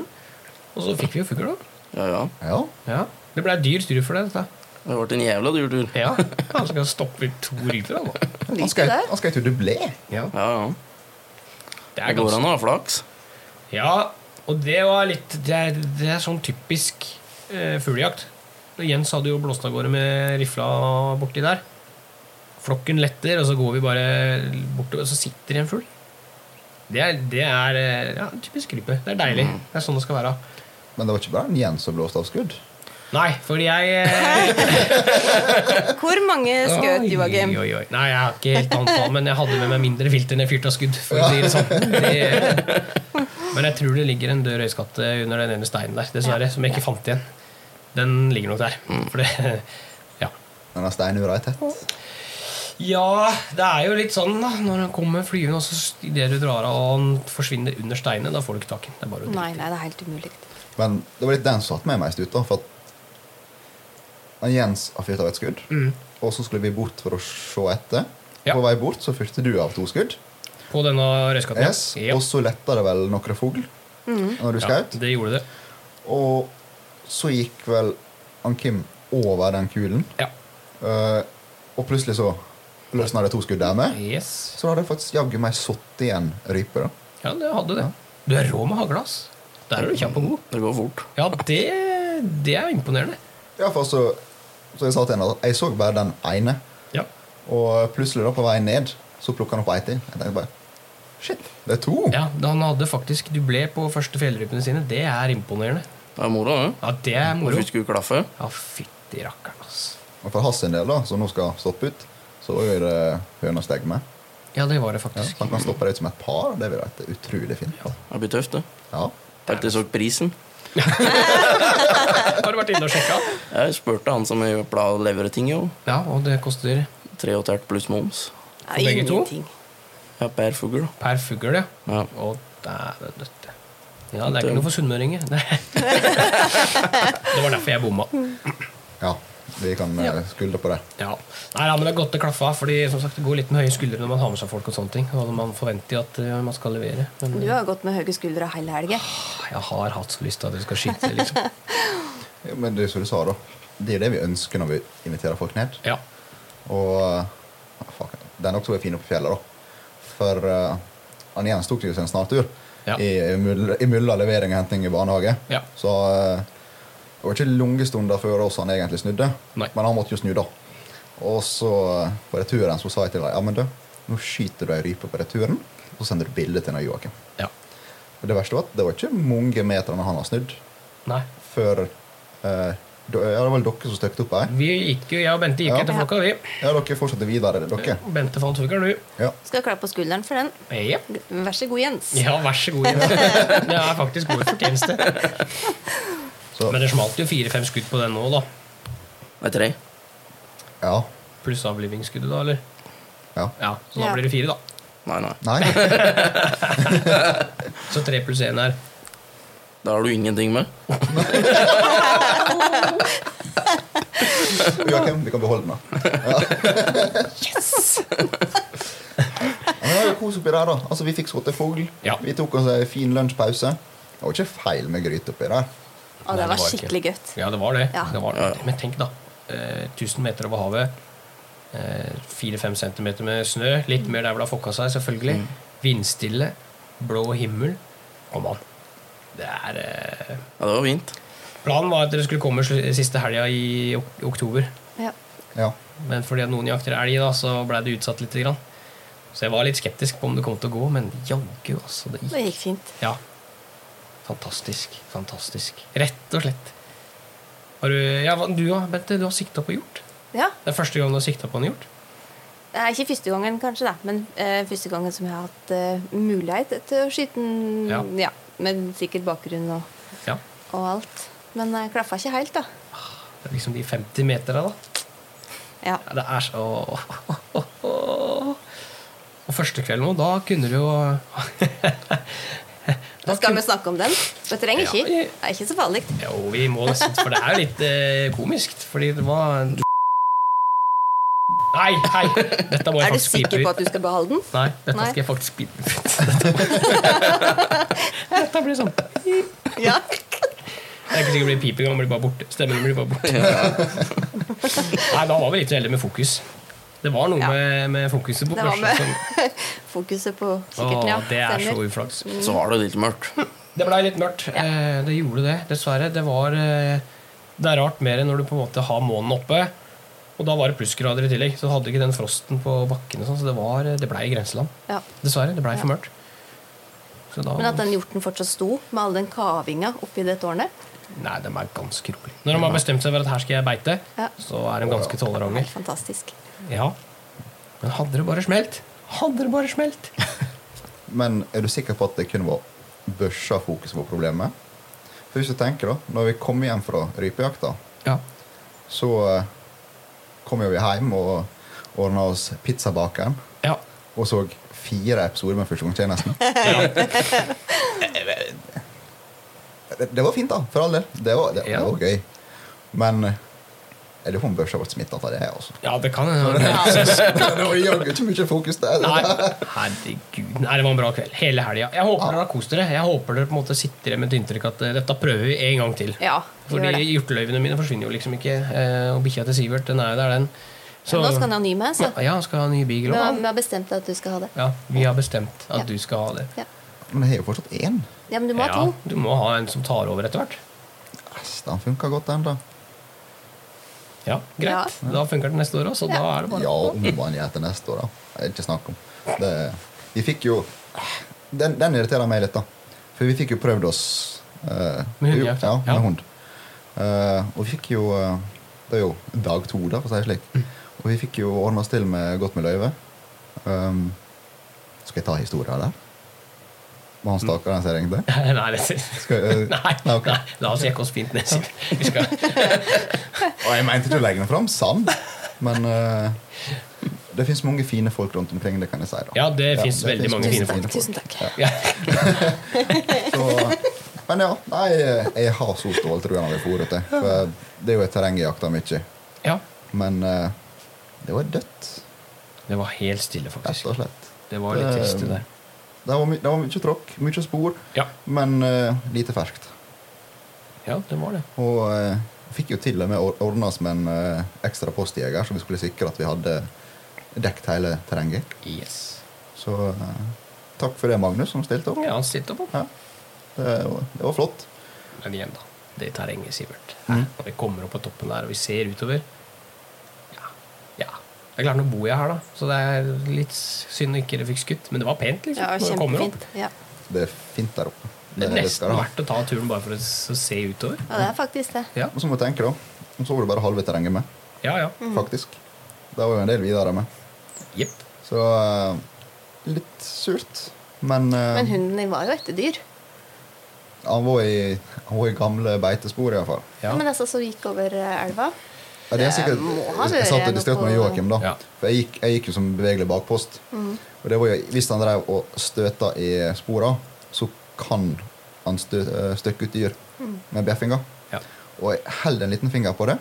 Speaker 1: Og så fikk vi jo fugl, da.
Speaker 3: Ja, ja.
Speaker 2: Ja.
Speaker 1: Ja. Det ble dyr tur for det. dette.
Speaker 3: Det ble en jævla dyr tur.
Speaker 1: (laughs) Ja, han skal stoppe to ryper han, da.
Speaker 2: Han skal
Speaker 4: det.
Speaker 2: han skal jo til dublé.
Speaker 1: Ja,
Speaker 3: Ja, ja.
Speaker 1: det
Speaker 3: Det
Speaker 1: er
Speaker 3: går
Speaker 1: ganske
Speaker 3: an å ha flaks.
Speaker 1: Ja, og det var litt Det er, det er sånn typisk eh, fuglejakt. Og Jens hadde jo blåst av gårde med rifla borti der. Flokken letter, og så går vi bare bortover, og så sitter det en fugl. Det er, det er eh, ja, typisk rype. Det er deilig.
Speaker 3: Mm.
Speaker 1: Det er sånn det skal være.
Speaker 2: Men det var ikke bare Jens som blåste av skudd.
Speaker 1: Nei, for jeg eh,
Speaker 4: Hvor mange skjøt,
Speaker 1: Oi,
Speaker 4: Joakim?
Speaker 1: Oi, oi. Nei, jeg har ikke helt antall, men jeg hadde med meg mindre filter enn jeg fyrte av skudd. For å si det sånn. det, men jeg tror det ligger en død røyskatte under den ene steinen der, dessverre, som jeg ikke fant igjen. Den ligger nok der.
Speaker 4: Mm.
Speaker 1: For det, ja.
Speaker 2: Men den steinura er tett.
Speaker 1: Ja, det er jo litt sånn, da. Når han kommer flyvende, og så idet du drar av og han forsvinner under steinene, da får du ikke tak i den. Det er bare å
Speaker 4: Nei,
Speaker 1: drite i.
Speaker 4: nei, det er helt umulig.
Speaker 2: Men det var litt den som satt meg mest ut. da For at når Jens har fyrt av et skudd, og så skulle vi bort for å se etter.
Speaker 1: Mm. Ja.
Speaker 2: På vei bort så fyrte du av to skudd.
Speaker 1: På denne røyskatten.
Speaker 2: Yes. Og så letta det vel noen fugl når du
Speaker 1: ja,
Speaker 2: skjøt.
Speaker 1: det gjorde det.
Speaker 2: Og så gikk vel han Kim over den kulen.
Speaker 1: Ja.
Speaker 2: eh, og plutselig så løsna det to skudd der med.
Speaker 1: Yes.
Speaker 2: Så da hadde jeg faktisk jaggu meg satt igjen rype. da
Speaker 1: Ja, det hadde det. Du er rå med hagle, ass. Der er du kjapp og god.
Speaker 3: Det går fort.
Speaker 1: Ja, det, det er imponerende.
Speaker 2: Iallfall så, så jeg sa til henne at jeg så bare den ene.
Speaker 1: Ja.
Speaker 2: Og plutselig da på vei ned så plukka han opp ei til. Jeg tenkte bare Shit, det er to!
Speaker 1: ja, da Han hadde faktisk dublé på første fjellrypene sine. Det er imponerende.
Speaker 3: Det er moro, det.
Speaker 1: Ja, det er moro.
Speaker 3: Hvorfor skulle du klaffe?
Speaker 1: Ja, fytti rakkeren, altså.
Speaker 2: Og for hans sin del, da, som nå skal stoppe ut, så er det høna stegme.
Speaker 1: Ja, det var det
Speaker 2: Ja,
Speaker 1: faktisk.
Speaker 2: han kan stoppe det ut som et par. Det vil jeg at det er utrolig fint.
Speaker 1: Ja.
Speaker 3: Det blir tøft, det.
Speaker 2: Ja.
Speaker 3: Har ikke sagt prisen.
Speaker 1: Har du vært inne og sjekka?
Speaker 3: Jeg spurte han som jeg pleier å levere ting i. jo.
Speaker 1: Ja, og det koster
Speaker 3: Tre og et halvt pluss moms.
Speaker 4: Ja,
Speaker 1: For begge to?
Speaker 4: ingenting.
Speaker 3: Ja, per fugl.
Speaker 1: per fugl, ja.
Speaker 3: Ja.
Speaker 1: Å, dæven døtte. Ja, det er ikke noe for sunnmøringer. (laughs) Nei. Det var derfor jeg bomma.
Speaker 2: ja. Vi kan eh, skuldre på det.
Speaker 1: Ja. Nei, ja, men Det er godt det klaffa, Fordi som sagt, det går litt med høye skuldre når man har med seg folk. og sånne ting Og når Man forventer jo at eh, man skal levere. Men
Speaker 4: Du har gått med høye skuldre hele helga.
Speaker 1: jeg har hatt så lyst til at dere skal skyte. Liksom.
Speaker 2: Ja, Men det er som du sa, da. Det er det vi ønsker når vi inviterer folk ned.
Speaker 1: Ja.
Speaker 2: Og eh, fuck, den også er fin oppe på fjellet, da. For eh, han Jens tok jo seg en snartur
Speaker 1: Ja.
Speaker 2: i, i mul- i mulla levering og henting i barnehage.
Speaker 1: Ja.
Speaker 2: Så eh, det var ikke lange stunder før oss han egentlig snudde,
Speaker 1: Nei.
Speaker 2: men han måtte jo snu da. Og så eh, på returen så sa jeg til deg ja, men du, nå skyter du ei rype på returen, og så sender du bilde til den Joakim.
Speaker 1: ja.
Speaker 2: Og det verste var at det var ikke mange meterne han har snudd
Speaker 1: Nei.
Speaker 2: før eh, da- Ja, det var vel dere som støkte opp her?
Speaker 1: Vi gikk jo, Jeg og Bente gikk
Speaker 2: Ja.
Speaker 1: etter flokka, vi.
Speaker 2: Ja, dere fortsatte videre, dere.
Speaker 1: Bente fant fuglen, du.
Speaker 2: Ja.
Speaker 4: Skal klappe på skulderen for den.
Speaker 1: Jep.
Speaker 4: Vær så god, Jens.
Speaker 1: Ja, vær så god. Jens. Det er faktisk god fortjeneste.
Speaker 2: Så,
Speaker 1: Men det smalt jo fire-fem skudd på den nå, da.
Speaker 3: Det er tre.
Speaker 2: ja.
Speaker 1: Pluss avlivingsskuddet, da, eller?
Speaker 2: Ja.
Speaker 1: Ja, Så da
Speaker 4: Ja.
Speaker 1: blir det fire, da.
Speaker 3: Nei, nei.
Speaker 2: Nei.
Speaker 1: Så tre pluss én her.
Speaker 3: Da har du ingenting med.
Speaker 2: Joakim, vi kan beholde den. da. Ja. yes! Ja, men det var jo kos oppi der, da. Altså, vi fikk skutt en fugl.
Speaker 1: Ja.
Speaker 2: Vi tok oss en fin lunsjpause. Det var ikke feil med gryte oppi der.
Speaker 4: Å,
Speaker 1: Nei,
Speaker 4: det
Speaker 1: det
Speaker 4: var
Speaker 1: var ikke.
Speaker 4: skikkelig godt.
Speaker 1: Ja, det var det.
Speaker 4: Ja.
Speaker 1: det, var
Speaker 3: Ja,
Speaker 1: det.
Speaker 3: ja.
Speaker 1: Men tenk, da. eh, 1000 meter over havet. eh, 4-5 centimeter med snø. Litt mer der hvor det har fokka seg, selvfølgelig.
Speaker 4: Mm.
Speaker 1: Vindstille. Blå himmel. Kom an. Det er eh,
Speaker 3: Ja, det var
Speaker 1: (laughs)
Speaker 3: fint.
Speaker 1: Planen var at dere skulle komme sl- siste helga i ok oktober.
Speaker 4: Ja.
Speaker 2: Ja.
Speaker 1: Men fordi at noen jakter elg, da, så ble det utsatt litt. Grann. Så jeg var litt skeptisk på om det kom til å gå, men jaggu, altså. Det
Speaker 4: Det
Speaker 1: gikk.
Speaker 4: gikk fint.
Speaker 1: Ja. Fantastisk. Fantastisk. Rett og slett. Har du Ja, hva- du da, Bente? Du har sikta på hjort?
Speaker 4: Ja.
Speaker 1: Det er første gang du har sikta på en hjort?
Speaker 4: Det er ikke første gangen, kanskje, da, men eh, første gangen som jeg har hatt eh, mulighet til å skyte den.
Speaker 1: Ja.
Speaker 4: Med sikkert bakgrunn og,
Speaker 1: Ja.
Speaker 4: og alt. Men jeg klaffa ikke helt, da.
Speaker 1: Det er liksom de 50 metera, da.
Speaker 4: Ja.
Speaker 1: Ja, det er så Og første kvelden nå, da kunne du jo (laughs) Da
Speaker 4: Skal
Speaker 1: kunne-
Speaker 4: vi snakke om den? Det trenger ikke.
Speaker 1: Ja.
Speaker 4: Det er ikke så farlig.
Speaker 1: Jo, vi må nesten For det er jo litt eh, komisk. Fordi det var Nei, hei! Dette må jeg
Speaker 4: Er du
Speaker 1: faktisk pipe
Speaker 4: sikker
Speaker 1: ut.
Speaker 4: på at du skal beholde den?
Speaker 1: Nei, dette
Speaker 4: Nei.
Speaker 1: skal jeg faktisk (laughs) pipe ut. Dette- Dette blir sånn (laughs)
Speaker 4: Ja.
Speaker 1: Det er ikke sikkert det blir piping, han blir bare borte. Stemmen blir bare borte. Nei, da var vi litt uheldige med fokus. Det var noe
Speaker 4: Ja.
Speaker 1: med, med fokuset på
Speaker 4: Det var
Speaker 1: børsen
Speaker 4: med (laughs)
Speaker 1: som-
Speaker 4: Fokuset på
Speaker 1: Åh,
Speaker 4: kikkerten, ja.
Speaker 1: det er så
Speaker 4: Stemmer.
Speaker 1: uflaks.
Speaker 3: Så var det litt mørkt.
Speaker 1: Det blei litt mørkt. Eh, det gjorde det, dessverre. Det var eh, Det er rart mer enn når du på en måte har månen oppe. Og da var det plussgrader i tillegg, så hadde ikke den frosten på bakken. Og sånn, så det, var, det blei grenseland.
Speaker 4: Ja.
Speaker 1: Dessverre. Det blei for mørkt. Så da,
Speaker 4: Men at den hjorten fortsatt sto med all den kavinga oppi det tårnet,
Speaker 1: Nei, de er ganske rolig. Når de har bestemt seg for at her skal jeg beite,
Speaker 4: Ja.
Speaker 1: så er de ganske
Speaker 4: det
Speaker 1: tolerante.
Speaker 4: er fantastisk.
Speaker 1: Ja. Men hadde det bare smelt? Hadde det bare smelt?
Speaker 2: Men er du sikker på at det kun var børsa fokus på problemet? For hvis du tenker da, når vi kom hjem fra rypejakta,
Speaker 1: Ja.
Speaker 2: så eh, kom jo vi hjem og ordna oss pizzabakeren
Speaker 1: ja.
Speaker 2: og så fire episoder med
Speaker 1: (laughs)
Speaker 2: fusjonstjenesten. det, det var fint, da. For all del. Det var, det,
Speaker 1: Ja.
Speaker 2: det var gøy. Men eh, jeg lurer på om børsa ble smitta av det.
Speaker 1: (laughs)
Speaker 2: altså.
Speaker 1: Ja, det kan
Speaker 4: (laughs)
Speaker 1: hende.
Speaker 2: Det var jaggu ikke mye fokus der.
Speaker 1: Nei, herregud. Nei, det var en bra kveld. Hele helga. Jeg håper dere har kost dere. Jeg håper dere på en måte sitter igjen med et inntrykk at eh, dette prøver vi en gang til.
Speaker 4: Ja, gjør
Speaker 1: Fordi
Speaker 4: det.
Speaker 1: hjorteløyvene mine forsvinner jo liksom ikke. eh, Og bikkja til Sivert, den er jo der, den.
Speaker 4: Men nå skal han ha ny altså. med, så.
Speaker 1: Ja, han skal ha ny beagle
Speaker 4: Vi har,
Speaker 1: òg.
Speaker 4: vi har bestemt at du skal ha det.
Speaker 1: Ja, vi har bestemt at
Speaker 4: Ja.
Speaker 1: du skal ha det.
Speaker 4: Ja.
Speaker 2: Men jeg har jo fortsatt én.
Speaker 4: Ja, men du må ha
Speaker 1: Ja,
Speaker 4: to.
Speaker 1: du må ha en som tar over etter hvert.
Speaker 2: Yes, den funker godt, den, da.
Speaker 1: Ja, greit. Da funker den neste år òg, så da er det bare
Speaker 2: Ja, om man gjør det neste år, da. Det er ikke snakk om. Det, vi fikk jo den, den irriterer meg litt, da. For vi fikk jo prøvd oss eh,
Speaker 1: Med
Speaker 2: jo-
Speaker 1: hundejakt,
Speaker 2: Ja,
Speaker 1: ja.
Speaker 2: med hund. Eh, og vi fikk jo eh, Det er jo dag to, da, for å si det slik. Og vi fikk jo ordna oss til med godt med løyve. Um, skal jeg ta historien der? Med han stakkaren som jeg ringte?
Speaker 1: (laughs) Nei, det
Speaker 2: Skal jeg-
Speaker 1: (laughs) Nei,
Speaker 2: Nei, ok.
Speaker 1: nei, la oss jekke oss fint ned. Siv. Vi skal
Speaker 2: Og jeg mente ikke å legge den fram, sann, men eh, det fins mange fine folk rundt omkring. det kan jeg si da.
Speaker 1: Ja, det finnes veldig
Speaker 2: finnes
Speaker 1: mange fine folk.
Speaker 4: Tusen takk.
Speaker 1: ja.
Speaker 2: Så, men ja, nei, eh, jeg har så stål tro gjennom det fôret. jeg. For eh, det er jo et terreng jeg jakter mye.
Speaker 1: ja.
Speaker 2: Men eh, det var dødt,
Speaker 1: Det var helt stille,
Speaker 2: rett
Speaker 1: faktisk.
Speaker 2: og slett. Eh,
Speaker 1: Det var litt trist, det der.
Speaker 2: Det var, my det var mye tråkk, mye spor,
Speaker 1: Eh, Ja,
Speaker 2: men eh, lite ferskt.
Speaker 1: ja det var det.
Speaker 2: Og eh, fikk jo til og med ordna oss med en eh, ekstra postjeger, så vi skulle sikre at vi hadde dekket hele terrenget.
Speaker 1: Yes.
Speaker 2: Så eh, takk for det, Magnus, som stilte opp.
Speaker 1: Ja, han sitter på.
Speaker 2: Ja. Det, var- det var flott.
Speaker 1: Men igjen, da. Det terrenget, Sivert. Hæ? Når vi kommer opp på toppen der og vi ser utover Ja. ja. Det er klart, nå bor jeg her, da, så det er litt synd ikke dere fikk skutt. Men det var pent, liksom.
Speaker 4: Ja,
Speaker 1: når vi kommer opp.
Speaker 4: kjempefint. Ja.
Speaker 2: Det er fint der oppe.
Speaker 1: Det er
Speaker 2: skal
Speaker 1: nesten
Speaker 2: det ha.
Speaker 1: verdt å ta turen bare for å s- å se utover.
Speaker 4: ja, det er faktisk det.
Speaker 1: Ja,
Speaker 2: Og så må du tenke, da. Og så var det bare halve terrenget med,
Speaker 1: ja. ja.
Speaker 4: Mm.
Speaker 2: faktisk. Det var jo en del videre med.
Speaker 1: Jepp.
Speaker 2: Så eh, litt surt. Men, eh,
Speaker 4: Men hunden din var jo et dyr.
Speaker 2: han, var i, han var i gamle beitespor, iallfall.
Speaker 1: Ja.
Speaker 4: Men altså, så gikk over eh, elva.
Speaker 2: Ja, det er sikkert,
Speaker 4: Det Eh, må ha
Speaker 2: jeg, jeg satt
Speaker 4: vært
Speaker 2: og diskuterte med
Speaker 4: noe-
Speaker 2: Joakim, da.
Speaker 1: Ja.
Speaker 2: For jeg gikk, jeg gikk jo som bevegelig bakpost.
Speaker 4: Mm.
Speaker 2: Og det var jo, hvis han drev og støta i spora, så kan han stø, eh, støkke ut dyr
Speaker 4: Mm.
Speaker 2: med bjeffinga.
Speaker 1: Ja.
Speaker 2: Og jeg holder en liten finger på det.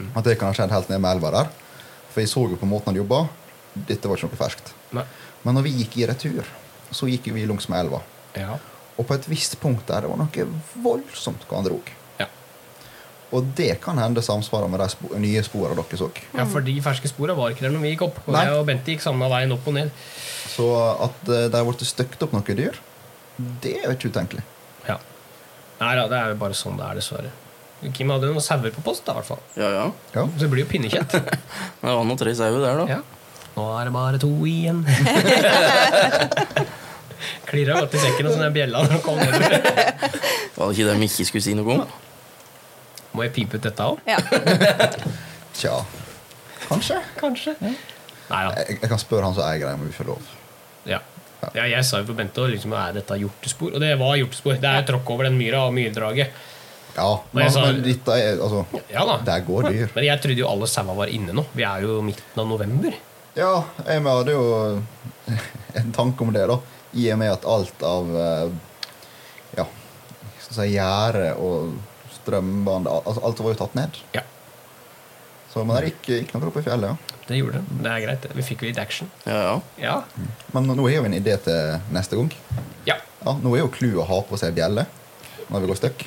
Speaker 1: Mm.
Speaker 2: At det kan ha skjedd helt ned med elva der. For jeg så jo på måten han jobba. Dette var ikke noe ferskt.
Speaker 1: Nei.
Speaker 2: Men når vi gikk i retur, så gikk jo vi langs med elva.
Speaker 1: Ja.
Speaker 2: Og på et visst punkt der det var noe voldsomt hva han drog.
Speaker 1: Ja.
Speaker 2: Og det kan hende samsvarer med de spo nye sporene dere så.
Speaker 1: ja, for de ferske sporene var ikke der når vi gikk opp. Og
Speaker 2: Nei.
Speaker 1: jeg og Bente gikk samme veien opp og ned.
Speaker 2: Så at eh, de har blitt støkt opp noen dyr, det er jo ikke utenkelig.
Speaker 1: Ja. Nei da, det er jo bare sånn det er, dessverre. Kim hadde jo noen sauer på post, da, i hvert fall.
Speaker 3: Ja, ja.
Speaker 2: Ja.
Speaker 1: Så det blir jo pinnekjøtt.
Speaker 3: Det var nå tre sauer der, da.
Speaker 1: (laughs) Ja. Nå er det bare to (laughs) igjen. Klirra godt i sekken og sånn den bjella når han kom nedover.
Speaker 3: Var det ikke dem ikke skulle si noe om?
Speaker 1: Må jeg pipe ut dette òg?
Speaker 4: Ja.
Speaker 2: Tja. Kanskje.
Speaker 1: Kanskje. Nei da.
Speaker 2: Jeg, jeg kan spørre han som eier greia, om vi får lov.
Speaker 1: Ja. ja. Jeg sa jo på Bente også, liksom, er dette hjortespor? Og det var hjortespor. Det er jo tråkk over den myra og myrdraget.
Speaker 2: Ja,
Speaker 1: Men jeg
Speaker 2: men,
Speaker 1: sa-
Speaker 2: men dette er Altså,
Speaker 1: Ja da.
Speaker 2: der går dyr.
Speaker 1: Men jeg trodde jo alle sauene var inne nå. Vi er jo midten av november.
Speaker 2: Ja, jeg med hadde jo en tanke om det, da. I og med at alt av eh, Ja, jeg skal si gjerde og strømbånd al- altså Alt var jo tatt ned.
Speaker 1: Ja,
Speaker 2: Så men det gikk, gikk noe opp i fjellet, ja.
Speaker 1: det gjorde det. Det er greit. det. Vi fikk litt action.
Speaker 3: Ja, ja.
Speaker 1: Ja.
Speaker 2: Men nå har jeg jo en idé til neste gang.
Speaker 1: Ja.
Speaker 2: Ja, nå er jo clouet å ha på seg bjelle når vi går støkk.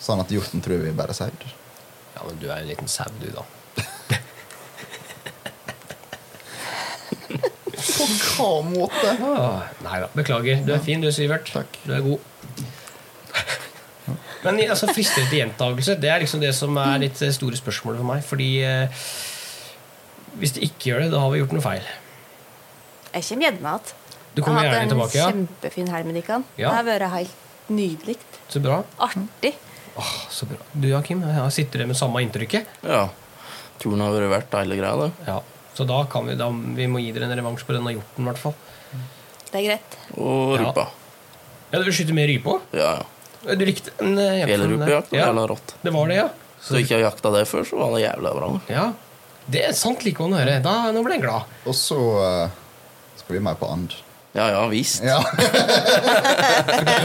Speaker 2: Sånn at hjorten tror vi bare er sau.
Speaker 1: ja, men du er en liten sau, du, da.
Speaker 2: På hva måte?
Speaker 1: Ah, nei da. Beklager. Du er fin du, Sivert.
Speaker 2: Takk.
Speaker 1: Du er god. Men altså, frister til gjentakelse, det er liksom det som er litt eh, store spørsmålet for meg. Fordi eh, hvis det ikke gjør det, da har vi gjort noe feil.
Speaker 4: Jeg kommer gjerne igjen.
Speaker 1: Du kommer
Speaker 4: Jeg har hatt
Speaker 1: gjerne tilbake, ja.
Speaker 4: en kjempefin helg med dere.
Speaker 1: Ja.
Speaker 4: Det har vært helt nydelig.
Speaker 1: Så bra.
Speaker 4: Artig.
Speaker 1: Åh, Ah, så bra. Du, Joakim, jeg sitter der med samme inntrykket.
Speaker 3: ja. Turen har vært verdt hele greia, det.
Speaker 1: Ja. Så da kan vi, da, vi må gi dere en revansj på denne hjorten, i hvert fall.
Speaker 4: Det er greit.
Speaker 3: Og
Speaker 1: Ja.
Speaker 3: rupa.
Speaker 1: Ja, du vil skyte med rype òg?
Speaker 3: Ja, ja.
Speaker 1: Du likte den? eh, jakten
Speaker 3: Hele
Speaker 1: der.
Speaker 3: rupejakt var
Speaker 1: Ja.
Speaker 3: jævla rått.
Speaker 1: Det var det, ja.
Speaker 3: Så ikke har jakta det før, så var det jævla bra.
Speaker 1: ja. Det er sant like å høre. Da, nå ble jeg glad.
Speaker 2: Og så eh, skal vi mer på and.
Speaker 3: Ja, ja, visst.
Speaker 4: (laughs)
Speaker 2: Ja.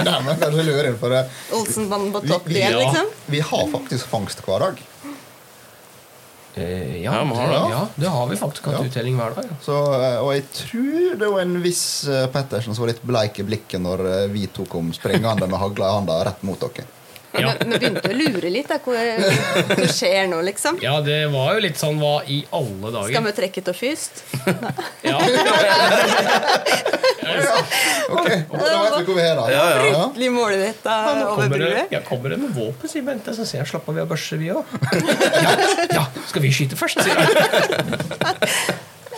Speaker 2: Nærmere kanskje lurer inn for det.
Speaker 4: Olsenbanden på
Speaker 2: Vi-
Speaker 4: topp
Speaker 2: vi-
Speaker 4: igjen,
Speaker 1: ja.
Speaker 4: liksom.
Speaker 2: Vi har faktisk fangst hver dag.
Speaker 1: Eh, ja,
Speaker 3: Ja, man har
Speaker 1: det,
Speaker 3: det.
Speaker 1: ja, det har vi faktisk hatt
Speaker 2: Ja.
Speaker 1: uttelling hver dag. Ja.
Speaker 2: Så, eh, og jeg tror det var en viss eh, Pettersen som var litt bleik i blikket når eh, vi to kom springende med hagla i handa rett mot dere. (laughs)
Speaker 1: Ja.
Speaker 4: Nå, nå begynte jeg å lure litt. Da. Hvor, hva skjer nå, liksom?
Speaker 1: Ja, det var jo litt sånn hva i alle
Speaker 4: Skal
Speaker 1: dager?
Speaker 4: vi trekke til først?
Speaker 1: Ja.
Speaker 4: (laughs)
Speaker 2: Ok, og Da vet vi hvor vi er, da.
Speaker 3: Ja, ja.
Speaker 2: Ja.
Speaker 4: Litt målretta
Speaker 1: Kommer
Speaker 4: over
Speaker 1: det,
Speaker 4: brødet?
Speaker 1: ja, kommer det med våpen, sier Bente. Så sier jeg slapp av, vi har børse, vi òg. (laughs) Ja, ja, skal vi skyte først, sier jeg.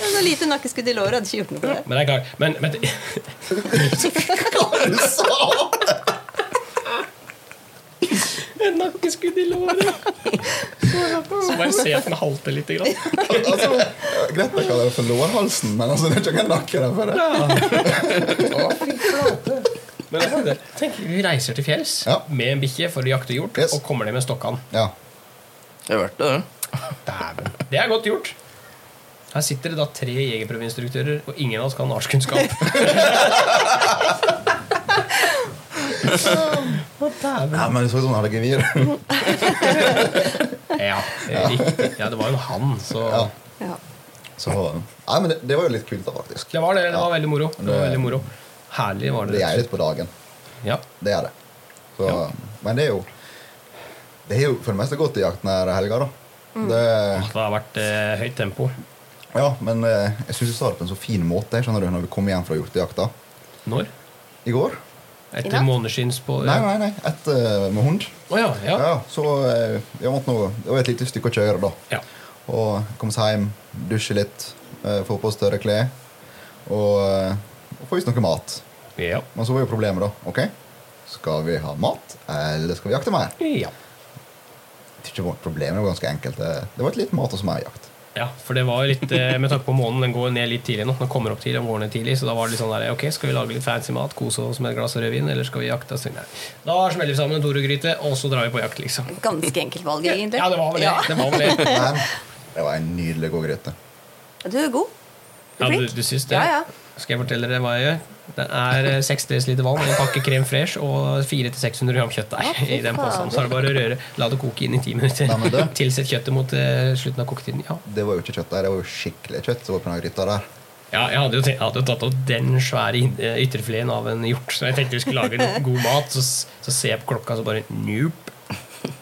Speaker 4: Så lite nakkeskudd i låret hadde ikke gjort noe for det.
Speaker 1: Men det er klart. Men, men (laughs) det-
Speaker 2: Hva du sa
Speaker 1: En nakkeskudd i låret. Så må jeg se at den halter litt. Grann.
Speaker 2: altså, Greit jeg kaller det for lårhalsen, men altså, det er ikke noen nakke der for det.
Speaker 1: Men jeg tenker, tenk, vi reiser til fjells
Speaker 2: altså, Ja.
Speaker 1: med en bikkje for å jakte hjort,
Speaker 2: Yes.
Speaker 1: og kommer ned med stokkan.
Speaker 2: Ja.
Speaker 3: Det er verdt det, det.
Speaker 1: Dæven. Det er godt gjort. Her sitter det da tre jegerprøveinstruktører, og ingen av oss kan artskunnskap. Å, dæven.
Speaker 2: Nei, men det så ut som han hadde gevir.
Speaker 1: Ja, det er riktig. Ja, det var jo en han, så
Speaker 2: Ja.
Speaker 4: Ja.
Speaker 2: (laughs) Så, nei, men det, det var jo litt kult, da, faktisk.
Speaker 1: Det var det. Det var veldig moro. Det var
Speaker 2: Det-
Speaker 1: veldig moro. Herlig var det.
Speaker 2: Det er litt på dagen.
Speaker 1: Ja.
Speaker 2: Det er det. Så,
Speaker 1: Ja.
Speaker 2: Men det er jo Det er jo for det meste godt i jakt nær helga, da.
Speaker 1: Mm.
Speaker 2: Det,
Speaker 1: Det har vært eh, høyt tempo.
Speaker 2: ja, men eh, jeg syns vi sa det på en så fin måte jeg skjønner du, når vi kom hjem fra hjortejakta
Speaker 1: Når?
Speaker 2: i går.
Speaker 4: I
Speaker 1: Etter
Speaker 4: natt?
Speaker 1: måneskinns på
Speaker 2: Nei, nei, nei. Ett eh, med hund.
Speaker 1: Å ja,
Speaker 2: Ja.
Speaker 1: ja.
Speaker 2: så eh, jeg måtte nå, det var et lite stykke å kjøre, da.
Speaker 1: ja.
Speaker 2: Og komme seg hjem, dusje litt, eh, få på større klær og, eh, og få i oss noe mat.
Speaker 1: Ja.
Speaker 2: Men så var jo problemet, da. ok? Skal vi ha mat, eller skal vi jakte mer?
Speaker 1: ja.
Speaker 2: Det er ikke vårt problem, det var ganske enkelt. Det det var et litt mat og smerjakt.
Speaker 4: (laughs)
Speaker 1: Ja, for det var litt eh, Med tanke på månen, den går ned litt tidlig nå. Den kommer opp tidlig, den går ned tidlig, så da var det litt sånn der Ok, skal vi lage litt fancy mat, kose oss med et glass rødvin, eller skal vi jakte? Så, nei. Da smeller vi sammen en torugryte, og så drar vi på jakt, liksom.
Speaker 4: Ganske enkelt valg, egentlig.
Speaker 1: Ja, det var vel det.
Speaker 4: Ja.
Speaker 1: det, var vel
Speaker 4: (laughs)
Speaker 1: det.
Speaker 2: Men det var en nydelig god gryte.
Speaker 4: Ja, Du er god. Du
Speaker 1: Ja,
Speaker 4: er
Speaker 1: du,
Speaker 4: flink.
Speaker 1: du syns det?
Speaker 4: Ja, ja.
Speaker 1: Skal jeg fortelle dere hva jeg gjør? Det er eh, 6 dl vann, en pakke krem fresh og 400-600 gram
Speaker 4: Ja,
Speaker 1: kjøttdeig
Speaker 4: fy
Speaker 1: i den posen.
Speaker 4: faen.
Speaker 1: Så er det bare å røre. La det koke inn i ti minutter.
Speaker 2: Nei, men det-
Speaker 1: (laughs) Tilsett kjøttet mot eh, slutten av koketiden. Ja.
Speaker 2: Det var jo ikke kjøtt der, det var jo skikkelig kjøtt som var på den gryta der.
Speaker 1: Ja, jeg hadde jo, tenkt, jeg hadde jo tatt opp den svære in- eh, ytterfileten av en hjort. Så jeg tenkte vi skulle lage litt god mat, så, s- så ser jeg på klokka, så bare nope.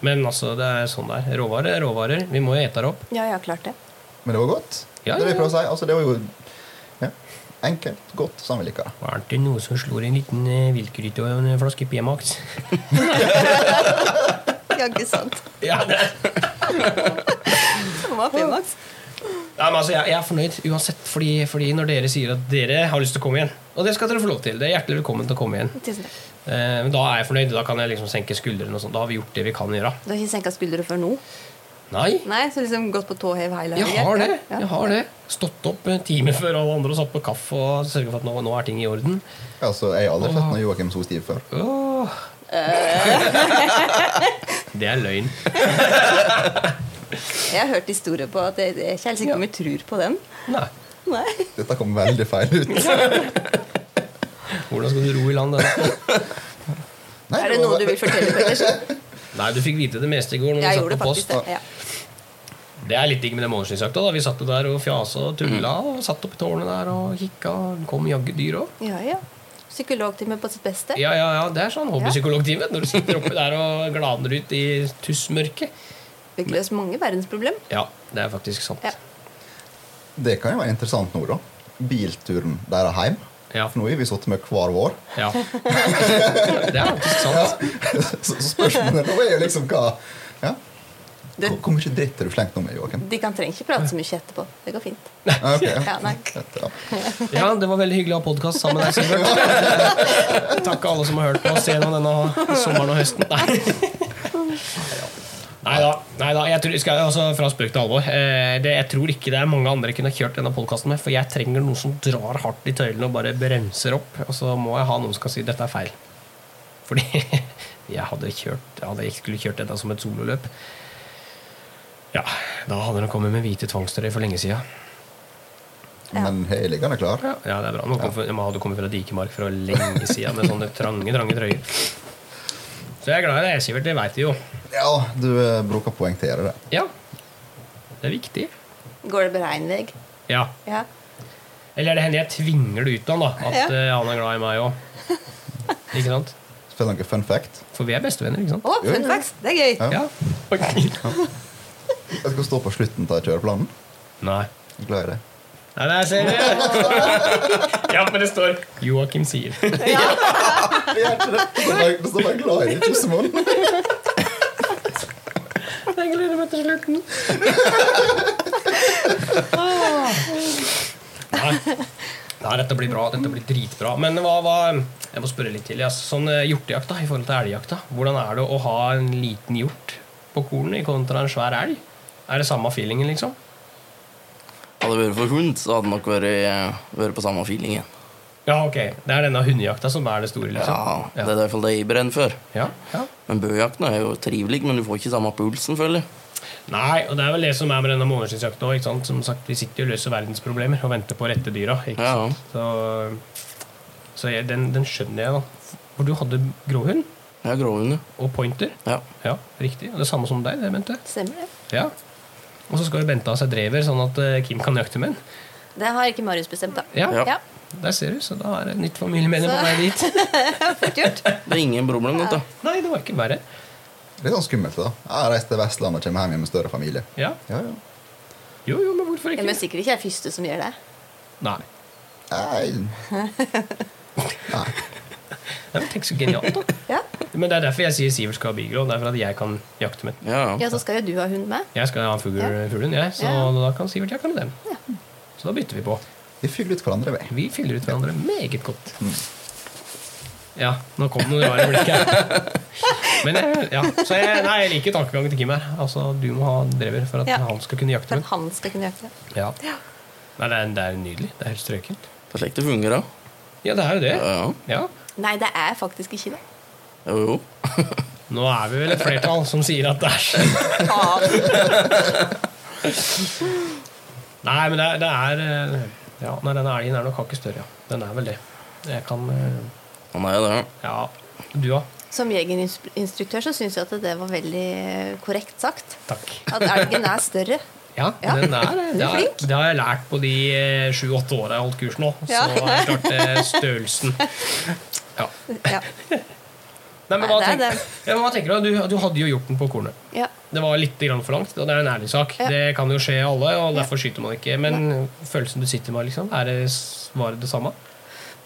Speaker 1: Men altså, det er sånn det er. Råvarer er råvarer. Vi må jo ete det opp.
Speaker 4: Ja, ja, klart det.
Speaker 2: Men det var godt.
Speaker 1: Ja,
Speaker 2: det
Speaker 1: ja,
Speaker 2: er det jeg
Speaker 1: ja.
Speaker 2: prøver å si. Altså, det var jo ja, enkelt, godt, sånn vi liker det.
Speaker 1: Var det noe som slår en liten eh, viltgryte og en flaske P-Max?
Speaker 4: Ja, ikke sant.
Speaker 1: Ja, det er
Speaker 4: Det var P-Max.
Speaker 1: Nei, men altså, jeg, jeg er fornøyd uansett, fordi, fordi når dere sier at dere har lyst til å komme igjen Og det skal dere få lov til. Det er hjertelig velkommen til å komme igjen.
Speaker 4: Tusen takk.
Speaker 1: Eh, men da er jeg fornøyd. Da kan jeg liksom senke skuldrene og sånn. Da har vi gjort det vi kan gjøre.
Speaker 4: Du har ikke senka skuldre før nå?
Speaker 1: Nei,
Speaker 4: Nei, så liksom gått på tå hev hele
Speaker 1: jeg har det.
Speaker 4: Ja.
Speaker 1: Jeg har det. Stått opp en time før alle andre og satt på kaffe og sørga for at nå, nå er ting i orden.
Speaker 2: Altså, jeg har aldri sett noen Joakim så stiv før.
Speaker 1: Åh.
Speaker 4: Eh.
Speaker 1: (laughs) Det er løgn.
Speaker 4: Jeg har hørt historier på at jeg, jeg er ikke helt sikker på om jeg tror på den.
Speaker 1: Nei.
Speaker 4: Nei.
Speaker 2: Dette kom veldig feil
Speaker 4: (laughs)
Speaker 2: ut.
Speaker 1: Hvordan skal du ro i land denne?
Speaker 2: Nei,
Speaker 4: (laughs) Er det
Speaker 2: var-
Speaker 4: noe du vil fortelle, Pettersen?
Speaker 1: Nei, du fikk vite det meste i går. Når
Speaker 4: Jeg
Speaker 1: vi
Speaker 4: gjorde
Speaker 1: satt på
Speaker 4: faktisk
Speaker 1: post.
Speaker 4: det. Ja.
Speaker 1: Det er litt digg med den månedsskinsjakta. da. Vi satt jo der og fjasa og
Speaker 4: Mm.
Speaker 1: tulla og satt oppi tårnet der og kikka. Det kom jaggu dyr òg.
Speaker 4: ja, ja. Psykologtime på sitt beste.
Speaker 1: Ja, ja, ja, det er sånn hobbypsykologtime når du sitter oppi der og glaner ut i tussmørket.
Speaker 4: Fikk løst mange verdensproblem.
Speaker 1: Ja, det er faktisk sant.
Speaker 4: Ja.
Speaker 2: Det kan jo være interessant nå, da. Bilturen deres hjem.
Speaker 1: Ja.
Speaker 2: For nå har vi sittet med hver vår. (laughs)
Speaker 1: Ja. Det er faktisk sant.
Speaker 2: Så så spørsmålet nå er jo liksom hva ja.
Speaker 4: Du,
Speaker 2: Hvor hvor mye dritt har du slengt nå med, Joakim?
Speaker 4: de kan trenger ikke prate så mye etterpå. Det går fint.
Speaker 2: (laughs) Ja, ok,
Speaker 4: Ja, nei.
Speaker 2: Ja.
Speaker 1: Ja, Det var veldig hyggelig å ha podkast sammen med deg, Sivert. Takk alle som har hørt på oss gjennom denne sommeren og høsten. Nei. Nei da. Nei da. Jeg tror, skal, altså, fra spøk til alvor. Eh, det, jeg tror ikke det er mange andre jeg kunne kjørt denne podkasten med, for jeg trenger noen som drar hardt i tøylene og bare bremser opp. Og så må jeg ha noen som kan si 'dette er feil'. Fordi (laughs) jeg hadde kjørt Jeg hadde ikke skulle kjørt dette som et sololøp. Ja, da hadde den kommet med hvite tvangstrøyer for lenge sida.
Speaker 2: Men jeg er liggende klar.
Speaker 1: Ja, ja det er bra. Nå kom, Man hadde kommet fra Dikemark fra lenge siden med sånne trange, trange trøyer. Så jeg er glad i deg, Sivert. Det veit vi jo.
Speaker 2: Ja, du eh, bruker å poengtere det.
Speaker 1: Ja. Det er viktig.
Speaker 4: Går det bra en vei?
Speaker 1: Ja.
Speaker 4: Ja.
Speaker 1: Eller er det henne jeg tvinger det ut av, da? At
Speaker 4: Ja.
Speaker 1: eh, han er glad i meg òg. Ikke sant?
Speaker 2: Får jeg noe fun fact?
Speaker 1: For vi er bestevenner, ikke sant?
Speaker 6: Å, fun facts. Det er gøy.
Speaker 2: Ja.
Speaker 1: Ja. Ok.
Speaker 2: Jeg skal stå på slutten av kjøreplanen.
Speaker 1: Nei.
Speaker 2: Jeg er Glad (laughs) i det.
Speaker 1: Nei, der ser (laughs) du! Ja, men det står Joakim sier.
Speaker 2: Det er ikke det. Det står bare- Det står bare 'glad i det', Kjossemoen.
Speaker 1: Jeg gleder meg til slutten. (laughs) Nei. Nei, dette blir bra. Dette blir dritbra. Men hva, hva Jeg må spørre litt til. Ja. Sånn eh, hjortejakt da, i forhold til elgjakt. da. Hvordan er det å ha en liten hjort på kornet i kontra en svær elg? Er det samme feelingen, liksom?
Speaker 3: Hadde det vært for hund, så hadde det nok vært, eh, vært på samme feelingen.
Speaker 1: Ja, ok. Det er denne hundejakta som er det store, liksom?
Speaker 3: Ja, det er i hvert fall det jeg brenner for.
Speaker 1: Ja. ja.
Speaker 3: Men bøjakten er jo trivelig, men du får ikke samme pulsen, føler jeg.
Speaker 1: Nei, og det er vel det som er med denne månedsjakta òg. Som sagt, vi sitter jo og løser verdensproblemer og venter på rette dyra. Ikke
Speaker 3: Ja, ja.
Speaker 1: sant? Så, så jeg, den, den skjønner jeg, da. For du hadde gråhund
Speaker 3: Jeg er gråhund, ja.
Speaker 1: og pointer.
Speaker 3: ja.
Speaker 1: Ja, riktig. Og det samme som deg, det, Bente.
Speaker 4: Stemmer det.
Speaker 1: Ja. Og så skal jo Bente ha seg drever, sånn at eh, Kim kan jakte med den.
Speaker 4: Det har ikke Marius bestemt, da.
Speaker 1: Ja.
Speaker 3: Ja.
Speaker 4: Ja,
Speaker 1: Der ser du, så da er det et nytt familiemedlem på vei dit.
Speaker 4: Fort gjort.
Speaker 3: Det er ingen problem, dette.
Speaker 1: Nei, det var ikke verre.
Speaker 2: Litt sånn skummelt, da. Jeg reiser til Vestlandet og kommer hjem med en større familie.
Speaker 1: Ja.
Speaker 2: Ja, ja.
Speaker 1: Jo, jo, men hvorfor
Speaker 4: Ja, men
Speaker 1: ikke?
Speaker 4: sikkert ikke jeg er første som gjør det.
Speaker 1: Nei.
Speaker 2: (laughs) Nei. Nei.
Speaker 1: Nei, men Tenk så genialt, da.
Speaker 4: Ja,
Speaker 1: Men det er derfor jeg sier Sivert skal ha bigrå. Det er for at jeg kan jakte med den.
Speaker 3: Ja, ja.
Speaker 4: ja så skal jo du ha hund med.
Speaker 1: Jeg skal ha fugl, fuglen, jeg. Så
Speaker 4: Ja.
Speaker 1: da kan Sivert jakte med den. Så da bytter vi på.
Speaker 2: Vi fyller ut hverandre, vi.
Speaker 1: Vi fyller ut hverandre meget godt.
Speaker 3: Mm.
Speaker 1: Ja, nå kom det noen rare blikk her. Men jeg, ja, så jeg, nei, jeg liker tankegangen til Kim her. Altså, Du må ha drever for at
Speaker 4: Ja.
Speaker 1: han skal kunne jakte
Speaker 4: For
Speaker 1: med.
Speaker 4: at han skal kunne jakte.
Speaker 1: Ja. Nei, det er, det er nydelig. Det er helt strøkent.
Speaker 3: Det er slik det fungerer.
Speaker 1: Ja, det er jo det.
Speaker 3: Ja, ja.
Speaker 1: Ja.
Speaker 4: Nei, det er faktisk ikke det.
Speaker 3: Jo, jo.
Speaker 1: Nå er vi vel et flertall som sier at det er sånn. Nei, men det er, det er eh, Ja, nei, denne elgen er nok hakket større, ja. Den er vel det. Jeg kan eh,
Speaker 3: Han er jo det.
Speaker 1: Ja. Du òg.
Speaker 4: Som jegerinstruktør så syns jeg at det var veldig korrekt sagt.
Speaker 1: Takk.
Speaker 4: At elgen er større.
Speaker 1: Ja,
Speaker 4: Ja,
Speaker 1: den er det.
Speaker 4: du
Speaker 1: Det
Speaker 4: er
Speaker 1: har,
Speaker 4: flink.
Speaker 1: det har jeg lært på de eh, sju-åtte åra jeg har holdt kurs nå. Så
Speaker 4: Ja.
Speaker 1: er det klart eh, størrelsen. Ja.
Speaker 4: Ja.
Speaker 1: Nei, men
Speaker 4: Nei,
Speaker 1: hva,
Speaker 4: det er
Speaker 1: tenker,
Speaker 4: det.
Speaker 1: ja, men hva tenker du? du? Du hadde jo hjorten på kornet.
Speaker 4: ja.
Speaker 1: Det var litt grann for langt, og det er en ærlig sak.
Speaker 4: Ja.
Speaker 1: Det kan jo skje alle, og derfor skyter man ikke. Men følelsen du sitter med, liksom, er det, s- var det det samme?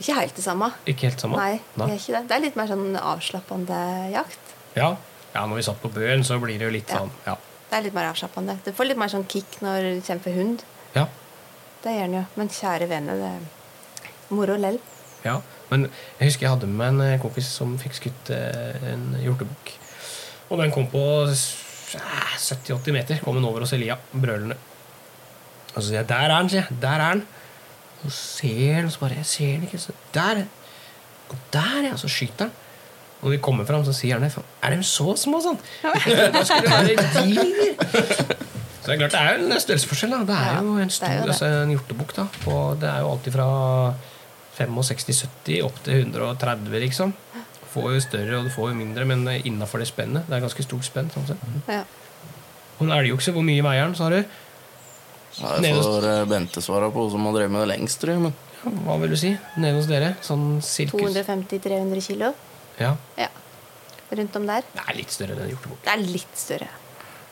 Speaker 4: Ikke helt det samme.
Speaker 1: Ikke helt samme?
Speaker 4: Nei, det er ikke det. Det er litt mer sånn avslappende jakt.
Speaker 1: Ja. ja, når vi satt på bøen, så blir det jo litt
Speaker 4: Ja.
Speaker 1: sånn Ja.
Speaker 4: Det er litt mer avslappende. Du får litt mer sånn kick når du kjemper hund.
Speaker 1: ja.
Speaker 4: Det gjør den jo. Men kjære vene, det er moro lell.
Speaker 1: Ja, men jeg husker jeg hadde med meg en eh, kompis som fikk skutt eh, en hjortebukk. Og den kom på s- eh, 70-80 meter. Kom den over hos Elia, brølende. Og så sier jeg 'der er den', sier jeg. 'Der er den'. Så ser han, og så bare 'jeg ser den ikke'. Så der. Og der, ja. Så skyter han. Og når vi kommer fram, så sier han det. 'Er de så små,
Speaker 4: (laughs)
Speaker 1: sånn?' (laughs) Da skulle det være diger. Så det er klart, det er jo en størrelsesforskjell. da. Det er
Speaker 4: Ja,
Speaker 1: jo en
Speaker 4: det
Speaker 1: stor
Speaker 4: er jo det.
Speaker 1: altså, en hjortebukk. da. Og det er jo alltid fra 65-70 opp til 130, liksom. Du får jo større og du får jo mindre, men eh, innafor det spennet. Det er ganske stort spenn. sånn sett.
Speaker 4: Ja.
Speaker 1: Og en elgokse, hvor mye veier den, sa du?
Speaker 3: Det får eh, Bente svare på, som har drevet med det lengst, tror jeg. Men
Speaker 1: Hva vil du si? Nede hos dere? Sånn sirkus?
Speaker 4: 250-300 kilo.
Speaker 1: Ja.
Speaker 4: Ja. Rundt om der.
Speaker 1: Det er litt større enn en hjortebukk.
Speaker 4: Det er litt større.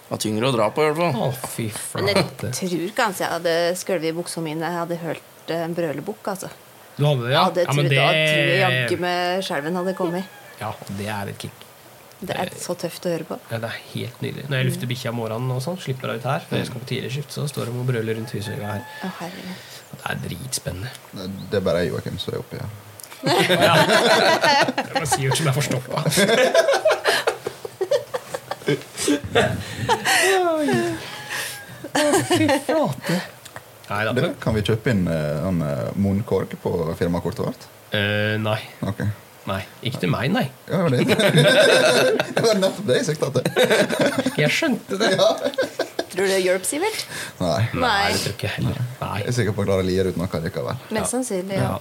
Speaker 3: det er tyngre å dra på, i hvert
Speaker 1: Å,
Speaker 3: fall.
Speaker 1: fy
Speaker 4: Men jeg
Speaker 1: flate.
Speaker 4: tror kanskje jeg hadde skølvet i buksa mine. Jeg hadde hørt en brølebukk, altså.
Speaker 1: Du hadde det,
Speaker 4: Ja,
Speaker 1: ja?
Speaker 4: det
Speaker 1: ja,
Speaker 4: tror,
Speaker 1: men
Speaker 4: Da tror jeg
Speaker 1: det,
Speaker 4: jaggu med skjelven hadde kommet.
Speaker 1: ja, det er et kick.
Speaker 4: Det er så tøft å høre på.
Speaker 1: Ja, det er helt nydelig. Når jeg lufter bikkja om morgenen, og sånn, slipper henne ut her, når jeg skal på tidlig skift, så står de og brøler rundt husvegga her.
Speaker 4: Å, herregud.
Speaker 1: Det er dritspennende.
Speaker 2: Det er bare jeg, Joakim, som er oppi her.
Speaker 1: Det var Sivert som er forstoppa. Fy flate. Nei da.
Speaker 2: Du, kan vi kjøpe inn eh, en eh, munnkork på firmakortet vårt?
Speaker 1: Eh, nei.
Speaker 2: Ok.
Speaker 1: nei. Ikke til meg, nei.
Speaker 2: Ja, det var det. (laughs) det var nettopp det jeg sikta til.
Speaker 1: Jeg skjønte det.
Speaker 4: Tror du det hjelper, Sivert?
Speaker 2: Nei.
Speaker 1: Nei,
Speaker 4: Nei.
Speaker 1: det tror ikke jeg heller. Nei.
Speaker 2: Jeg er sikker på at Klara lier ut noe likevel.
Speaker 4: Mest sannsynlig, ja.
Speaker 1: Ja.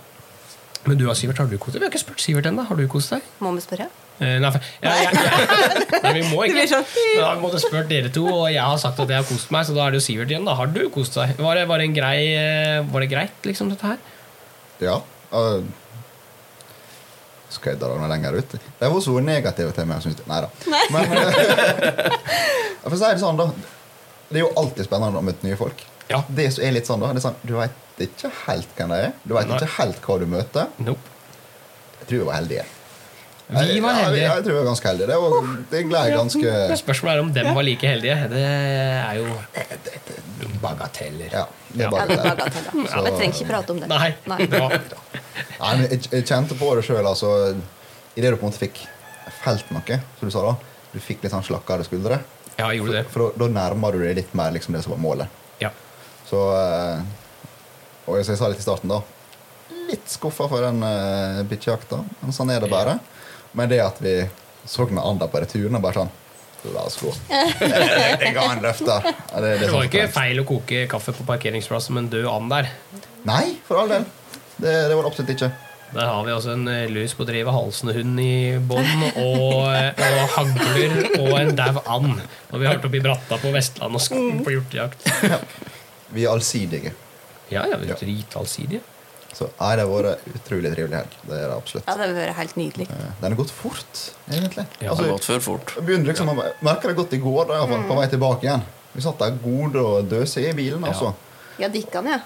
Speaker 1: Men du, Sivert, har du kost deg? Vi har ikke spurt Sivert ennå. Har du kost deg?
Speaker 4: Må vi spørre?
Speaker 1: Eh, Nei, for, ja, jeg, jeg, (laughs) nei, vi må
Speaker 4: Det
Speaker 1: ikke.
Speaker 4: blir sånn.
Speaker 1: Men Da har vi måttet spørre dere to, og jeg har sagt at jeg har kost meg. Så da er det jo Sivert igjen. da Har du kost deg? Var det, var det, en grei, eh, var det greit, liksom, dette her?
Speaker 2: Ja. eh, skal jeg dra noe lenger ut? De var så negative til meg. Synes jeg. Neida.
Speaker 4: Nei.
Speaker 2: Men (laughs) eh, for å si det sånn, da. Det er jo alltid spennende å møte nye folk.
Speaker 1: Ja.
Speaker 2: Det som er litt sånn, da, det er sånn, du veit ikke helt hvem de er. Du veit
Speaker 1: Nei.
Speaker 2: ikke helt hva du møter.
Speaker 1: Nope.
Speaker 2: Jeg tror jeg var heldig.
Speaker 1: Vi var
Speaker 2: Jeg, jeg,
Speaker 1: heldige.
Speaker 2: jeg tror jeg var ganske heldig. Det, var, det gled jeg
Speaker 1: Ja,
Speaker 2: ganske
Speaker 1: Spørsmålet er om dem var like heldige. Det er jo eh, bagateller.
Speaker 2: Ja.
Speaker 1: Ja.
Speaker 2: Det er
Speaker 4: Ja,
Speaker 2: bare
Speaker 4: det er
Speaker 2: det.
Speaker 4: bagatell, ja.
Speaker 2: Så-
Speaker 4: Jeg trenger ikke prate om det.
Speaker 1: Nei.
Speaker 4: Nei.
Speaker 1: Bra.
Speaker 2: Nei, men jeg, jeg kjente på det sjøl. Altså, Idet du på en måte fikk felt noe, som du sa da, du fikk litt sånn slakkere skuldre,
Speaker 1: Ja, jeg gjorde det.
Speaker 2: for da- da nærmer du deg litt mer liksom, det som var målet.
Speaker 1: Ja.
Speaker 2: Så eh, Og som jeg sa litt i starten, da. Litt skuffa for den eh, bikkjejakta, men sånn er det bare. Men det at vi så med Ander på returen og bare sånn La oss gå. Jeg ga en løfte. Ja, det- det er
Speaker 1: Det var
Speaker 2: sånn
Speaker 1: ikke
Speaker 2: som trengs.
Speaker 1: feil å koke kaffe på parkeringsplassen med en død and der.
Speaker 2: Nei, for all del. Det, det var det absolutt ikke.
Speaker 1: Der har vi altså en eh, lus på drevet halsende-hund i bånn, og, eh, og hagler og en dau and. Og vi har vært oppe i bratta på Vestland og sk- på hjortejakt.
Speaker 2: Vi er allsidige.
Speaker 1: Ja, ja, vi
Speaker 2: Ja.
Speaker 1: er dritalsidige.
Speaker 2: Så nei, det har vært utrolig trivelig helg. Det er det absolutt.
Speaker 4: Ja, det vil være helt nydelig.
Speaker 2: Eh, Den har gått fort, egentlig.
Speaker 1: Ja,
Speaker 3: Det har
Speaker 2: altså,
Speaker 3: gått for fort.
Speaker 2: jeg begynner liksom, å merker det godt i går, da, i hvert
Speaker 4: Mm.
Speaker 2: fall, på vei tilbake igjen. Vi satt der gode og døse i bilen, altså.
Speaker 4: Ja, dikkan, ja.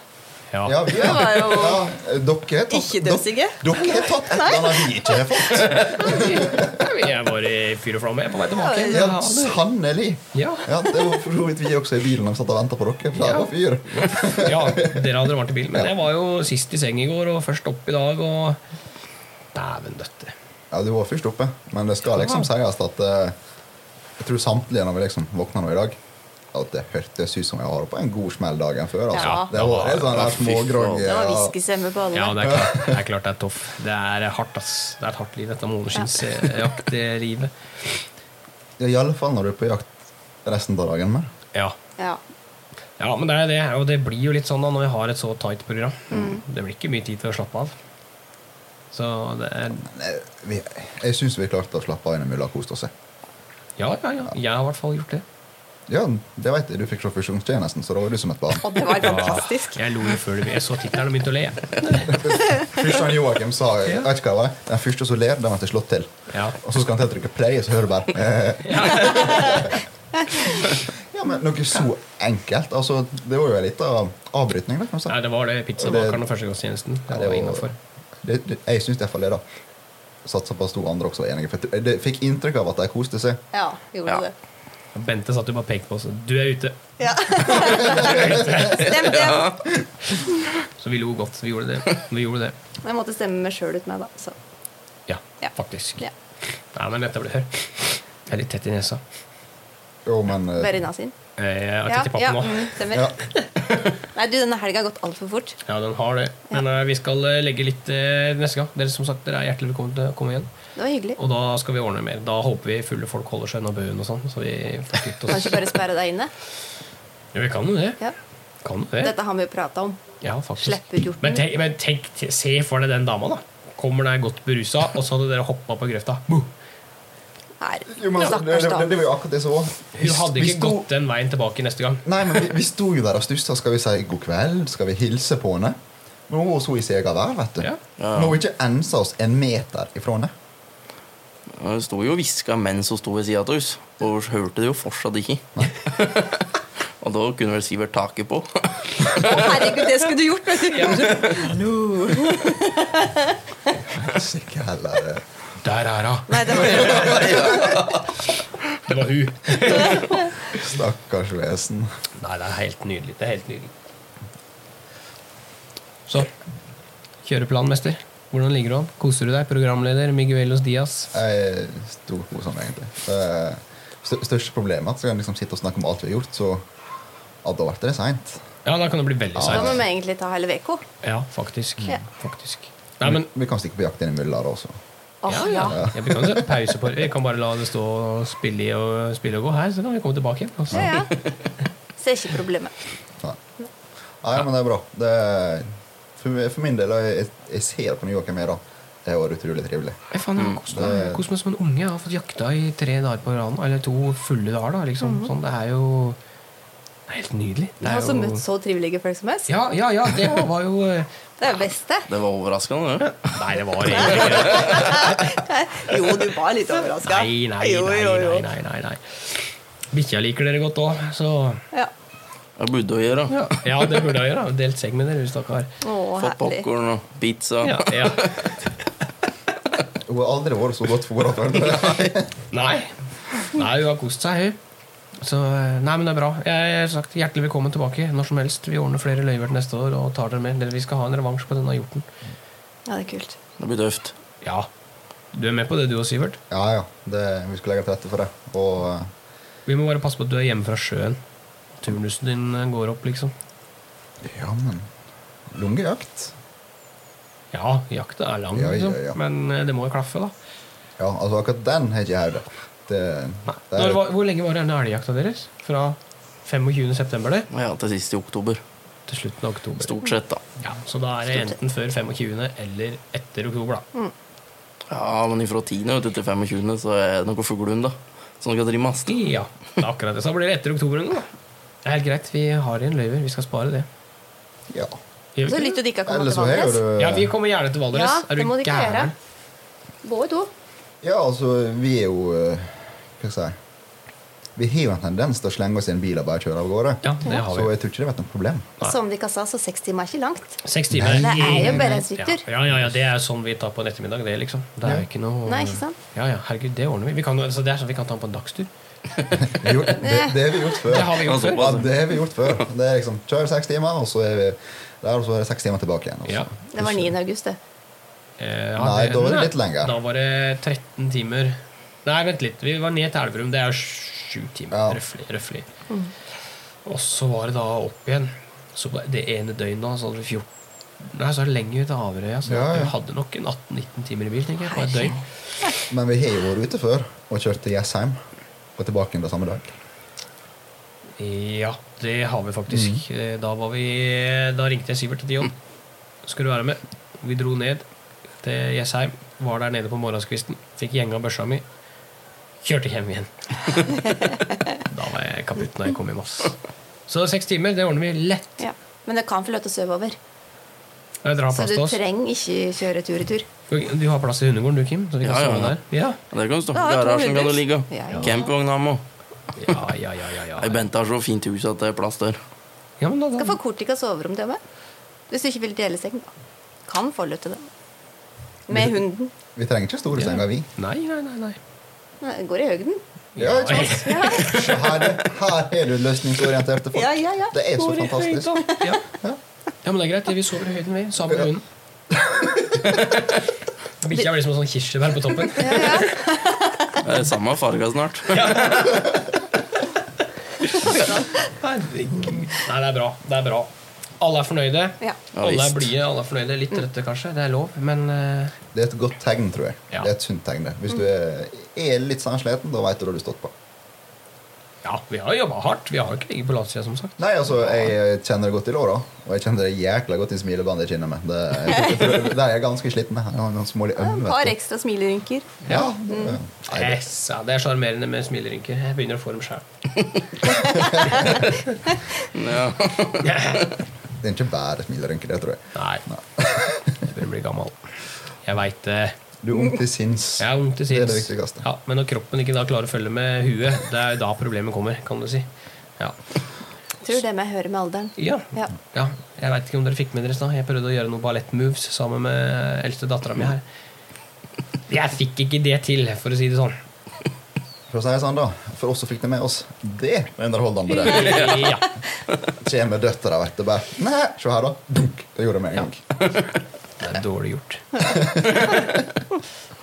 Speaker 1: Ja.
Speaker 2: Ja, vi, ja.
Speaker 4: var jo
Speaker 2: dere har tatt,
Speaker 4: ikke døsige.
Speaker 2: dere- Dere har tatt et eller annet vi ikke har fått.
Speaker 4: (laughs)
Speaker 1: Jeg var i fyr og flamme jeg er på vei tilbake.
Speaker 2: Ja, sannelig.
Speaker 1: Ja.
Speaker 2: Ja, det var for så vidt vi også i bilen og satt og venta på dere. For det var fyr.
Speaker 1: ja, dere hadde varmt i bilen, men jeg var jo sist i seng i går, og først opp i dag, og Dæven døtte.
Speaker 2: Ja, du var først oppe, men det skal liksom sies at eh, jeg tror samtlige når vi liksom våkna nå i dag, at det hørtes ut som jeg har på en god smell dagen før. Altså.
Speaker 4: Ja.
Speaker 2: Det var helt sånn
Speaker 3: Ja,
Speaker 2: der
Speaker 3: fy
Speaker 2: smågrogg. eh,
Speaker 3: faen.
Speaker 4: Det var
Speaker 2: ja.
Speaker 4: whiskystemme på alle.
Speaker 1: Ja, det er klart det er, klart det er toff. Det er hardt, ass. Det er et hardt liv, dette eh, måneskinnsjaktlivet.
Speaker 2: Ja, I alle fall når du er på jakt resten av dagen med.
Speaker 1: Ja.
Speaker 4: Ja.
Speaker 1: ja, men det er det. Og det blir jo litt sånn da når vi har et så tight program.
Speaker 4: Mm.
Speaker 1: Det blir ikke mye tid til å slappe av. Så det er
Speaker 2: Nei, vi- Jeg syns vi klarte å slappe av innimellom og kost oss. jeg.
Speaker 1: Ja, ja, ja. Jeg har i hvert fall gjort det.
Speaker 2: Ja, det vet jeg. Du fikk se fusjonstjenesten, så da var du som et barn.
Speaker 4: Og det var fantastisk.
Speaker 1: Jeg lo jo før det Jeg så tittelen og begynte å le.
Speaker 2: Fyrst han Joakim sa jeg vet ikke hva det var, den første som ler, den ble slått til.
Speaker 1: Ja.
Speaker 2: Og så skal han til å trykke play, og så hører du bare eh. (laughs) Ja, men noe så enkelt. Altså, det var jo en liten avbrytning. Da, kan man si.
Speaker 1: Nei, det var det. Pizzabakeren og førstegangstjenesten.
Speaker 2: Ja,
Speaker 1: Det
Speaker 2: det
Speaker 1: var
Speaker 2: var-
Speaker 1: innafor.
Speaker 2: det, det, jeg syns iallfall det, da. Satser på at to andre også var enige. For jeg tror- jeg fikk inntrykk av at de koste seg.
Speaker 4: Ja, gjorde
Speaker 3: Ja.
Speaker 4: det.
Speaker 1: Bente satt jo bare og pekte på oss. Du er ute.
Speaker 4: Ja. Stemte det.
Speaker 1: Så vi lo godt. Vi gjorde det. Vi gjorde det.
Speaker 4: Jeg måtte stemme meg sjøl ut med, da. Så.
Speaker 1: Ja,
Speaker 4: Ja.
Speaker 1: faktisk.
Speaker 4: Ja.
Speaker 1: Nei, men dette blir hør. Jeg er litt tett i nesa.
Speaker 2: Jo, men eh,
Speaker 4: Verina sin.
Speaker 1: Eh, Jeg er
Speaker 4: Ja,
Speaker 1: tett i pappen
Speaker 4: ja,
Speaker 1: nå.
Speaker 4: mm, stemmer.
Speaker 2: ja.
Speaker 4: Nei, du, denne helga har gått altfor fort.
Speaker 1: Ja, den har det. Men eh, vi skal eh, legge litt eh, neste gang. Dere som sagt, dere er hjertelig velkommen til å komme igjen.
Speaker 4: Det var hyggelig.
Speaker 1: Og da skal vi ordne mer. Da håper vi fulle folk holder seg unna bøen og sånn. Så vi får kvitt oss.
Speaker 4: Kanskje bare sperre deg inne.
Speaker 1: Ja, vi kan jo det.
Speaker 4: Ja.
Speaker 1: Kan jo det.
Speaker 4: Dette har vi jo prata om.
Speaker 1: Ja, faktisk.
Speaker 4: Slipp ut hjorten.
Speaker 1: Men tenk, men tenk te- se for deg den dama, da. Kommer der godt berusa, og så hadde dere hoppa på grøfta. Boom.
Speaker 4: Her.
Speaker 2: jo, men det, det, det,
Speaker 4: Stakkars
Speaker 2: det
Speaker 4: dame.
Speaker 2: var jo akkurat det som var.
Speaker 1: Hun hadde
Speaker 2: Vi
Speaker 1: ikke
Speaker 2: sto-
Speaker 1: gått den veien tilbake neste gang.
Speaker 2: Nei, men vi, vi sto jo der og stussa. Skal vi si god kveld? Skal vi hilse på henne? Men hun var så i seg av vær, vet du.
Speaker 1: Ja.
Speaker 3: Ja.
Speaker 2: Når hun ikke ensa oss en meter ifra henne.
Speaker 3: Hun sto jo og hviska mens hun sto ved sida av oss, og hun hørte det jo fortsatt ikke. og da kunne vel Sivert taket på.
Speaker 4: Herregud, det skulle du gjort! vet du.
Speaker 2: Sikkert heller eh.
Speaker 1: Der er hun!
Speaker 4: Nei, det var
Speaker 1: Det var hun.
Speaker 2: Stakkars vesen.
Speaker 1: Nei, det er helt nydelig. Det er helt nydelig. Så Kjøreplan, mester. Hvordan ligger du an? Koser du deg? Programleder Miguelos Diaz.
Speaker 2: Jeg sto på sånn, egentlig. Eh, stør- Største problemet er at skal en liksom sitte og snakke om alt vi har gjort, så ja, da ble det seint.
Speaker 1: Ja, da kan det bli veldig
Speaker 4: Da må
Speaker 1: seint.
Speaker 4: vi egentlig ta hele uka.
Speaker 1: Ja, faktisk.
Speaker 4: Ja.
Speaker 1: Faktisk. Nei, men
Speaker 2: Vi kan stikke på jakt innimellom der også.
Speaker 4: Åh,
Speaker 1: ja, ja.
Speaker 4: ja.
Speaker 1: Ja, Vi kan sette pause på Vi kan bare la det stå og spille i og spille og gå her, så kan vi komme tilbake igjen. Altså.
Speaker 4: Ja, ja. Ser ikke problemet.
Speaker 2: Nei, Nei men det er bra. Det er, for, for min del, og jeg, jeg ser på Joakim her, da. Det var utrolig trivelig.
Speaker 1: Jeg faen, jeg har kost meg. Jeg har kost meg som en unge. Jeg har fått jakta i tre dager på raden. Eller to fulle dager, da. Liksom. Sånn, det er jo Det er helt nydelig. Det
Speaker 4: Jeg
Speaker 1: er
Speaker 4: har Mhm. også
Speaker 1: jo-
Speaker 4: møtt så trivelige folk som oss.
Speaker 1: Ja, ja, ja, det var jo eh,
Speaker 4: Det er det beste.
Speaker 3: Det var overraskende, det.
Speaker 1: Nei, det var egentlig ikke det. (laughs)
Speaker 4: Jo, du var litt overraska.
Speaker 1: Nei, nei, nei, nei, nei, nei, nei. Bikkja liker dere godt òg, så
Speaker 4: Ja.
Speaker 3: Jeg burde å gjøre.
Speaker 1: ja. ja, det burde jeg gjøre. Delt seng med dere, stakkar.
Speaker 4: Å,
Speaker 3: Fått
Speaker 4: herlig.
Speaker 3: popkorn og pizza.
Speaker 1: Ja, ja.
Speaker 2: Hun har aldri vært så godt fôra før.
Speaker 1: (laughs) Nei. Nei, hun har kost seg, hun. Så, eh, nei, men det er bra. Jeg har sagt Hjertelig velkommen tilbake når som helst. Vi ordner flere løyver til neste år og tar dere med. Dere- Vi skal ha en revansj på denne hjorten.
Speaker 4: Ja, det er kult.
Speaker 3: Det blir tøft.
Speaker 1: Ja. Du er med på det, du og Sivert?
Speaker 2: Ja, ja. Det, vi skulle legge til rette for det. Og eh,
Speaker 1: Vi må bare passe på at du er hjemme fra sjøen. Turnusen din eh, går opp, liksom.
Speaker 2: ja, men eh, Lungejakt?
Speaker 1: Ja, jakta er lang,
Speaker 2: Ja, ja,
Speaker 1: liksom.
Speaker 2: ja.
Speaker 1: Men eh, det må jo klaffe, da.
Speaker 2: Ja, altså akkurat den har ikke jeg hørt. Det,
Speaker 1: Nei.
Speaker 2: det er-
Speaker 1: Når, var- hvor lenge var denne elgjakta deres? Fra 25. september der,
Speaker 3: Ja, til sist i oktober.
Speaker 1: til slutten av oktober?
Speaker 3: Stort sett, da.
Speaker 1: Ja, så da er det enten før 25. eller etter oktober, da.
Speaker 4: Mm.
Speaker 3: Ja, men ifra 10. vet du, til 25. så er det noe fuglehund, da. Som skal trimmes.
Speaker 1: Ja, det er akkurat det. Så da blir det etter oktober nå, da. Det er helt greit, vi har igjen løyver. Vi skal spare det.
Speaker 2: Ja.
Speaker 1: Gjør
Speaker 4: Så
Speaker 1: vi ikke det?
Speaker 4: litt at de ikke har kommet
Speaker 2: Ellers så
Speaker 4: til
Speaker 2: har
Speaker 4: Valdres.
Speaker 2: jo du
Speaker 1: Ja, vi kommer gjerne til Valdres.
Speaker 4: Ja,
Speaker 1: er
Speaker 4: det må
Speaker 1: du
Speaker 4: de ikke
Speaker 1: gæren?
Speaker 5: Både to.
Speaker 2: Ja, altså, vi er jo eh, Hva skal jeg si Vi har jo en tendens til å slenge oss i en bil og bare kjøre av gårde.
Speaker 1: Ja, det har
Speaker 2: Så
Speaker 1: vi.
Speaker 2: jeg tror ikke det har vært noe problem.
Speaker 1: Nei.
Speaker 4: Som de ikke sa, så seks timer er ikke langt.
Speaker 1: Seks timer.
Speaker 4: Det er jo bare en syttur.
Speaker 1: Ja, ja, ja, det er sånn vi tar på en ettermiddag, det, liksom. Det er jo ikke noe
Speaker 4: Nei, ikke sant?
Speaker 1: Ja, ja, herregud, det ordner vi. vi kan, jo- altså, det er sånn vi kan ta den på en dagstur.
Speaker 2: Det, er gjort- det, det har vi gjort før.
Speaker 1: Det har vi gjort før.
Speaker 2: Ja, det har vi gjort før. Det er liksom kjør seks timer, og så er vi der, og så er det seks timer tilbake igjen. altså. og så-
Speaker 1: Ja.
Speaker 4: Det var 9. august, det.
Speaker 1: Eh, ja,
Speaker 2: Nei, da var det litt lenger.
Speaker 1: Da var det 13 timer. Nei, vent litt. Vi var ned til Elverum. Det er sju timer,
Speaker 2: Ja.
Speaker 1: røffelig. røffelig. Og så var det da opp igjen. Så på det ene døgnet da, så hadde vi 14 Nei, så er det lenger ut til Averøya. Så
Speaker 2: Ja, ja.
Speaker 1: vi hadde nok en 18-19 timer i bil tenker jeg, på et døgn.
Speaker 2: Men vi har jo vært ute før og kjørt til Jessheim og tilbake igjen på samme dag.
Speaker 1: Ja, det har vi faktisk. Eh, Da, var vi, da ringte jeg Sivert til Dion. Skal du være med? Vi dro ned til Jessheim. Var der nede på morgenskvisten. Fikk gjenga børsa mi. Kjørte hjem igjen. da var jeg kaputt når jeg kom hjem. ass. Så seks timer, det ordner vi lett.
Speaker 4: Ja. Men det kan få lov til å sove over.
Speaker 1: Dere har
Speaker 4: Så
Speaker 1: plass
Speaker 4: du
Speaker 1: til oss.
Speaker 4: trenger ikke kjøre tur i tur.
Speaker 1: Du har plass i hundegården, du, Kim? Så vi kan
Speaker 3: Ja, ja,
Speaker 1: sove
Speaker 3: ja.
Speaker 1: der. Ja,
Speaker 3: Der kan du stå
Speaker 4: Da
Speaker 3: på
Speaker 4: er det
Speaker 3: garasjen, kan du
Speaker 4: 200.
Speaker 3: ligge.
Speaker 4: Ja, ja.
Speaker 3: Campingvogn har vi.
Speaker 1: ja, ja. ja, ja, ja.
Speaker 3: Ei, Bente har så fint hus at det er plass der.
Speaker 1: ja men da,
Speaker 4: Skal
Speaker 1: da.
Speaker 4: få Kortika soverom til meg. Hvis du ikke vil dele seng, da. Kan få lov til det. Med hunden.
Speaker 2: Vi trenger ikke store
Speaker 1: Ja.
Speaker 2: senger, vi.
Speaker 1: Nei, nei, nei. nei.
Speaker 4: Nei, det Går i høgden.
Speaker 2: Ja, ikke sant? Så Her, her er du løsningsorienterte folk.
Speaker 4: Ja, ja, ja.
Speaker 2: Det er så
Speaker 1: Bor i
Speaker 2: fantastisk.
Speaker 1: høyden. Ja. ja, men det er greit. Vi sover i høyden, vi. Sammen med
Speaker 2: (laughs)
Speaker 1: hunden. Bikkja blir som en sånn kirsebær på toppen.
Speaker 3: Det er samme farga snart. (laughs)
Speaker 1: Herregud. Nei, det er bra. Det er bra. Alle er fornøyde.
Speaker 4: Ja.
Speaker 3: Ja,
Speaker 1: alle
Speaker 3: visst.
Speaker 1: er blide, alle er fornøyde. Litt trøtte, kanskje. Det er lov, men eh,
Speaker 2: Det er et godt tegn, tror jeg.
Speaker 1: Ja.
Speaker 2: Det er et sunt tegn. det.
Speaker 4: Mm.
Speaker 2: Hvis du er, er litt sånn sliten, da veit du hva du har stått på.
Speaker 1: ja, vi har jobba hardt. Vi har jo ikke ligget på latsida, som sagt.
Speaker 2: Nei, altså, jeg kjenner det godt i låra, og jeg kjenner det jækla godt i smilebåndet i kinnet mitt. Det, jeg tror- jeg tror- der er jeg ganske sliten. Jeg har noen smålig øm,
Speaker 4: Et par
Speaker 2: vet du.
Speaker 4: ekstra smilerynker.
Speaker 2: Ja,
Speaker 4: Mm.
Speaker 2: det- nei, det-
Speaker 1: Yes, ja, det er sjarmerende med smilerynker. Jeg begynner å få dem
Speaker 2: (laughs)
Speaker 1: sjæl.
Speaker 3: Ja.
Speaker 2: det er ikke bare smilerynker, det tror jeg.
Speaker 1: Nei. Jeg begynner å bli gammel. Jeg veit det.
Speaker 2: Du er ung til sinns.
Speaker 1: Jeg er ung til
Speaker 2: Det er
Speaker 1: sinns.
Speaker 2: det viktigste.
Speaker 1: Ja, men når kroppen ikke da klarer å følge med huet, det er jo da problemet kommer, kan du si. Ja.
Speaker 4: Tror det med hører med alderen.
Speaker 1: Ja.
Speaker 4: Ja.
Speaker 1: ja. Jeg veit ikke om dere fikk med dere i stad. Jeg prøvde å gjøre noen ballettmoves sammen med eldste dattera mi her. Jeg fikk ikke det til, for å si det sånn.
Speaker 2: For å si det sånn, da. For oss som fikk det med oss. Det er underholdende. det.
Speaker 4: (laughs)
Speaker 1: Ja.
Speaker 2: Kommer døtra, vet du. Bare Nei, se her, da. Dunk. Det gjorde jeg med en gang.
Speaker 1: Det er dårlig gjort.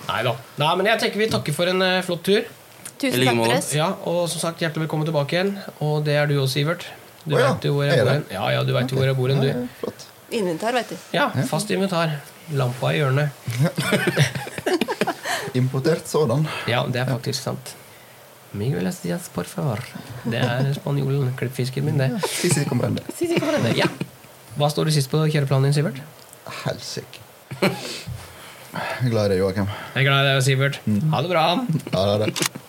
Speaker 1: Nei da. Nei, men jeg tenker vi takker for en eh, flott tur.
Speaker 3: I
Speaker 4: Tusen
Speaker 3: like
Speaker 4: takk for
Speaker 3: måte.
Speaker 4: oss.
Speaker 1: Ja, Og som sagt, hjertelig velkommen tilbake igjen. Og det er du også, Sivert. Du
Speaker 2: Å ja,
Speaker 1: vet jo hvor
Speaker 2: er
Speaker 1: jeg bor
Speaker 2: det?
Speaker 1: hen. Ja, ja, du vet jo hvor jeg bor hen, du.
Speaker 2: Flott.
Speaker 4: Inventar, vet du.
Speaker 1: Ja, fast inventar. Lampa i hjørnet.
Speaker 2: Importert sådan.
Speaker 1: Ja, det er faktisk sant. Miguel Estias, por favor. Det er spanjolen, klippfisken min, det.
Speaker 2: Sisi comprende.
Speaker 1: Ja. Hva står det sist på kjøreplanen din, Sivert?
Speaker 2: Helsike. Jeg er glad i deg, Joakim.
Speaker 1: Jeg er glad i deg, Sivert. Ha det bra.
Speaker 2: Ja, det er det.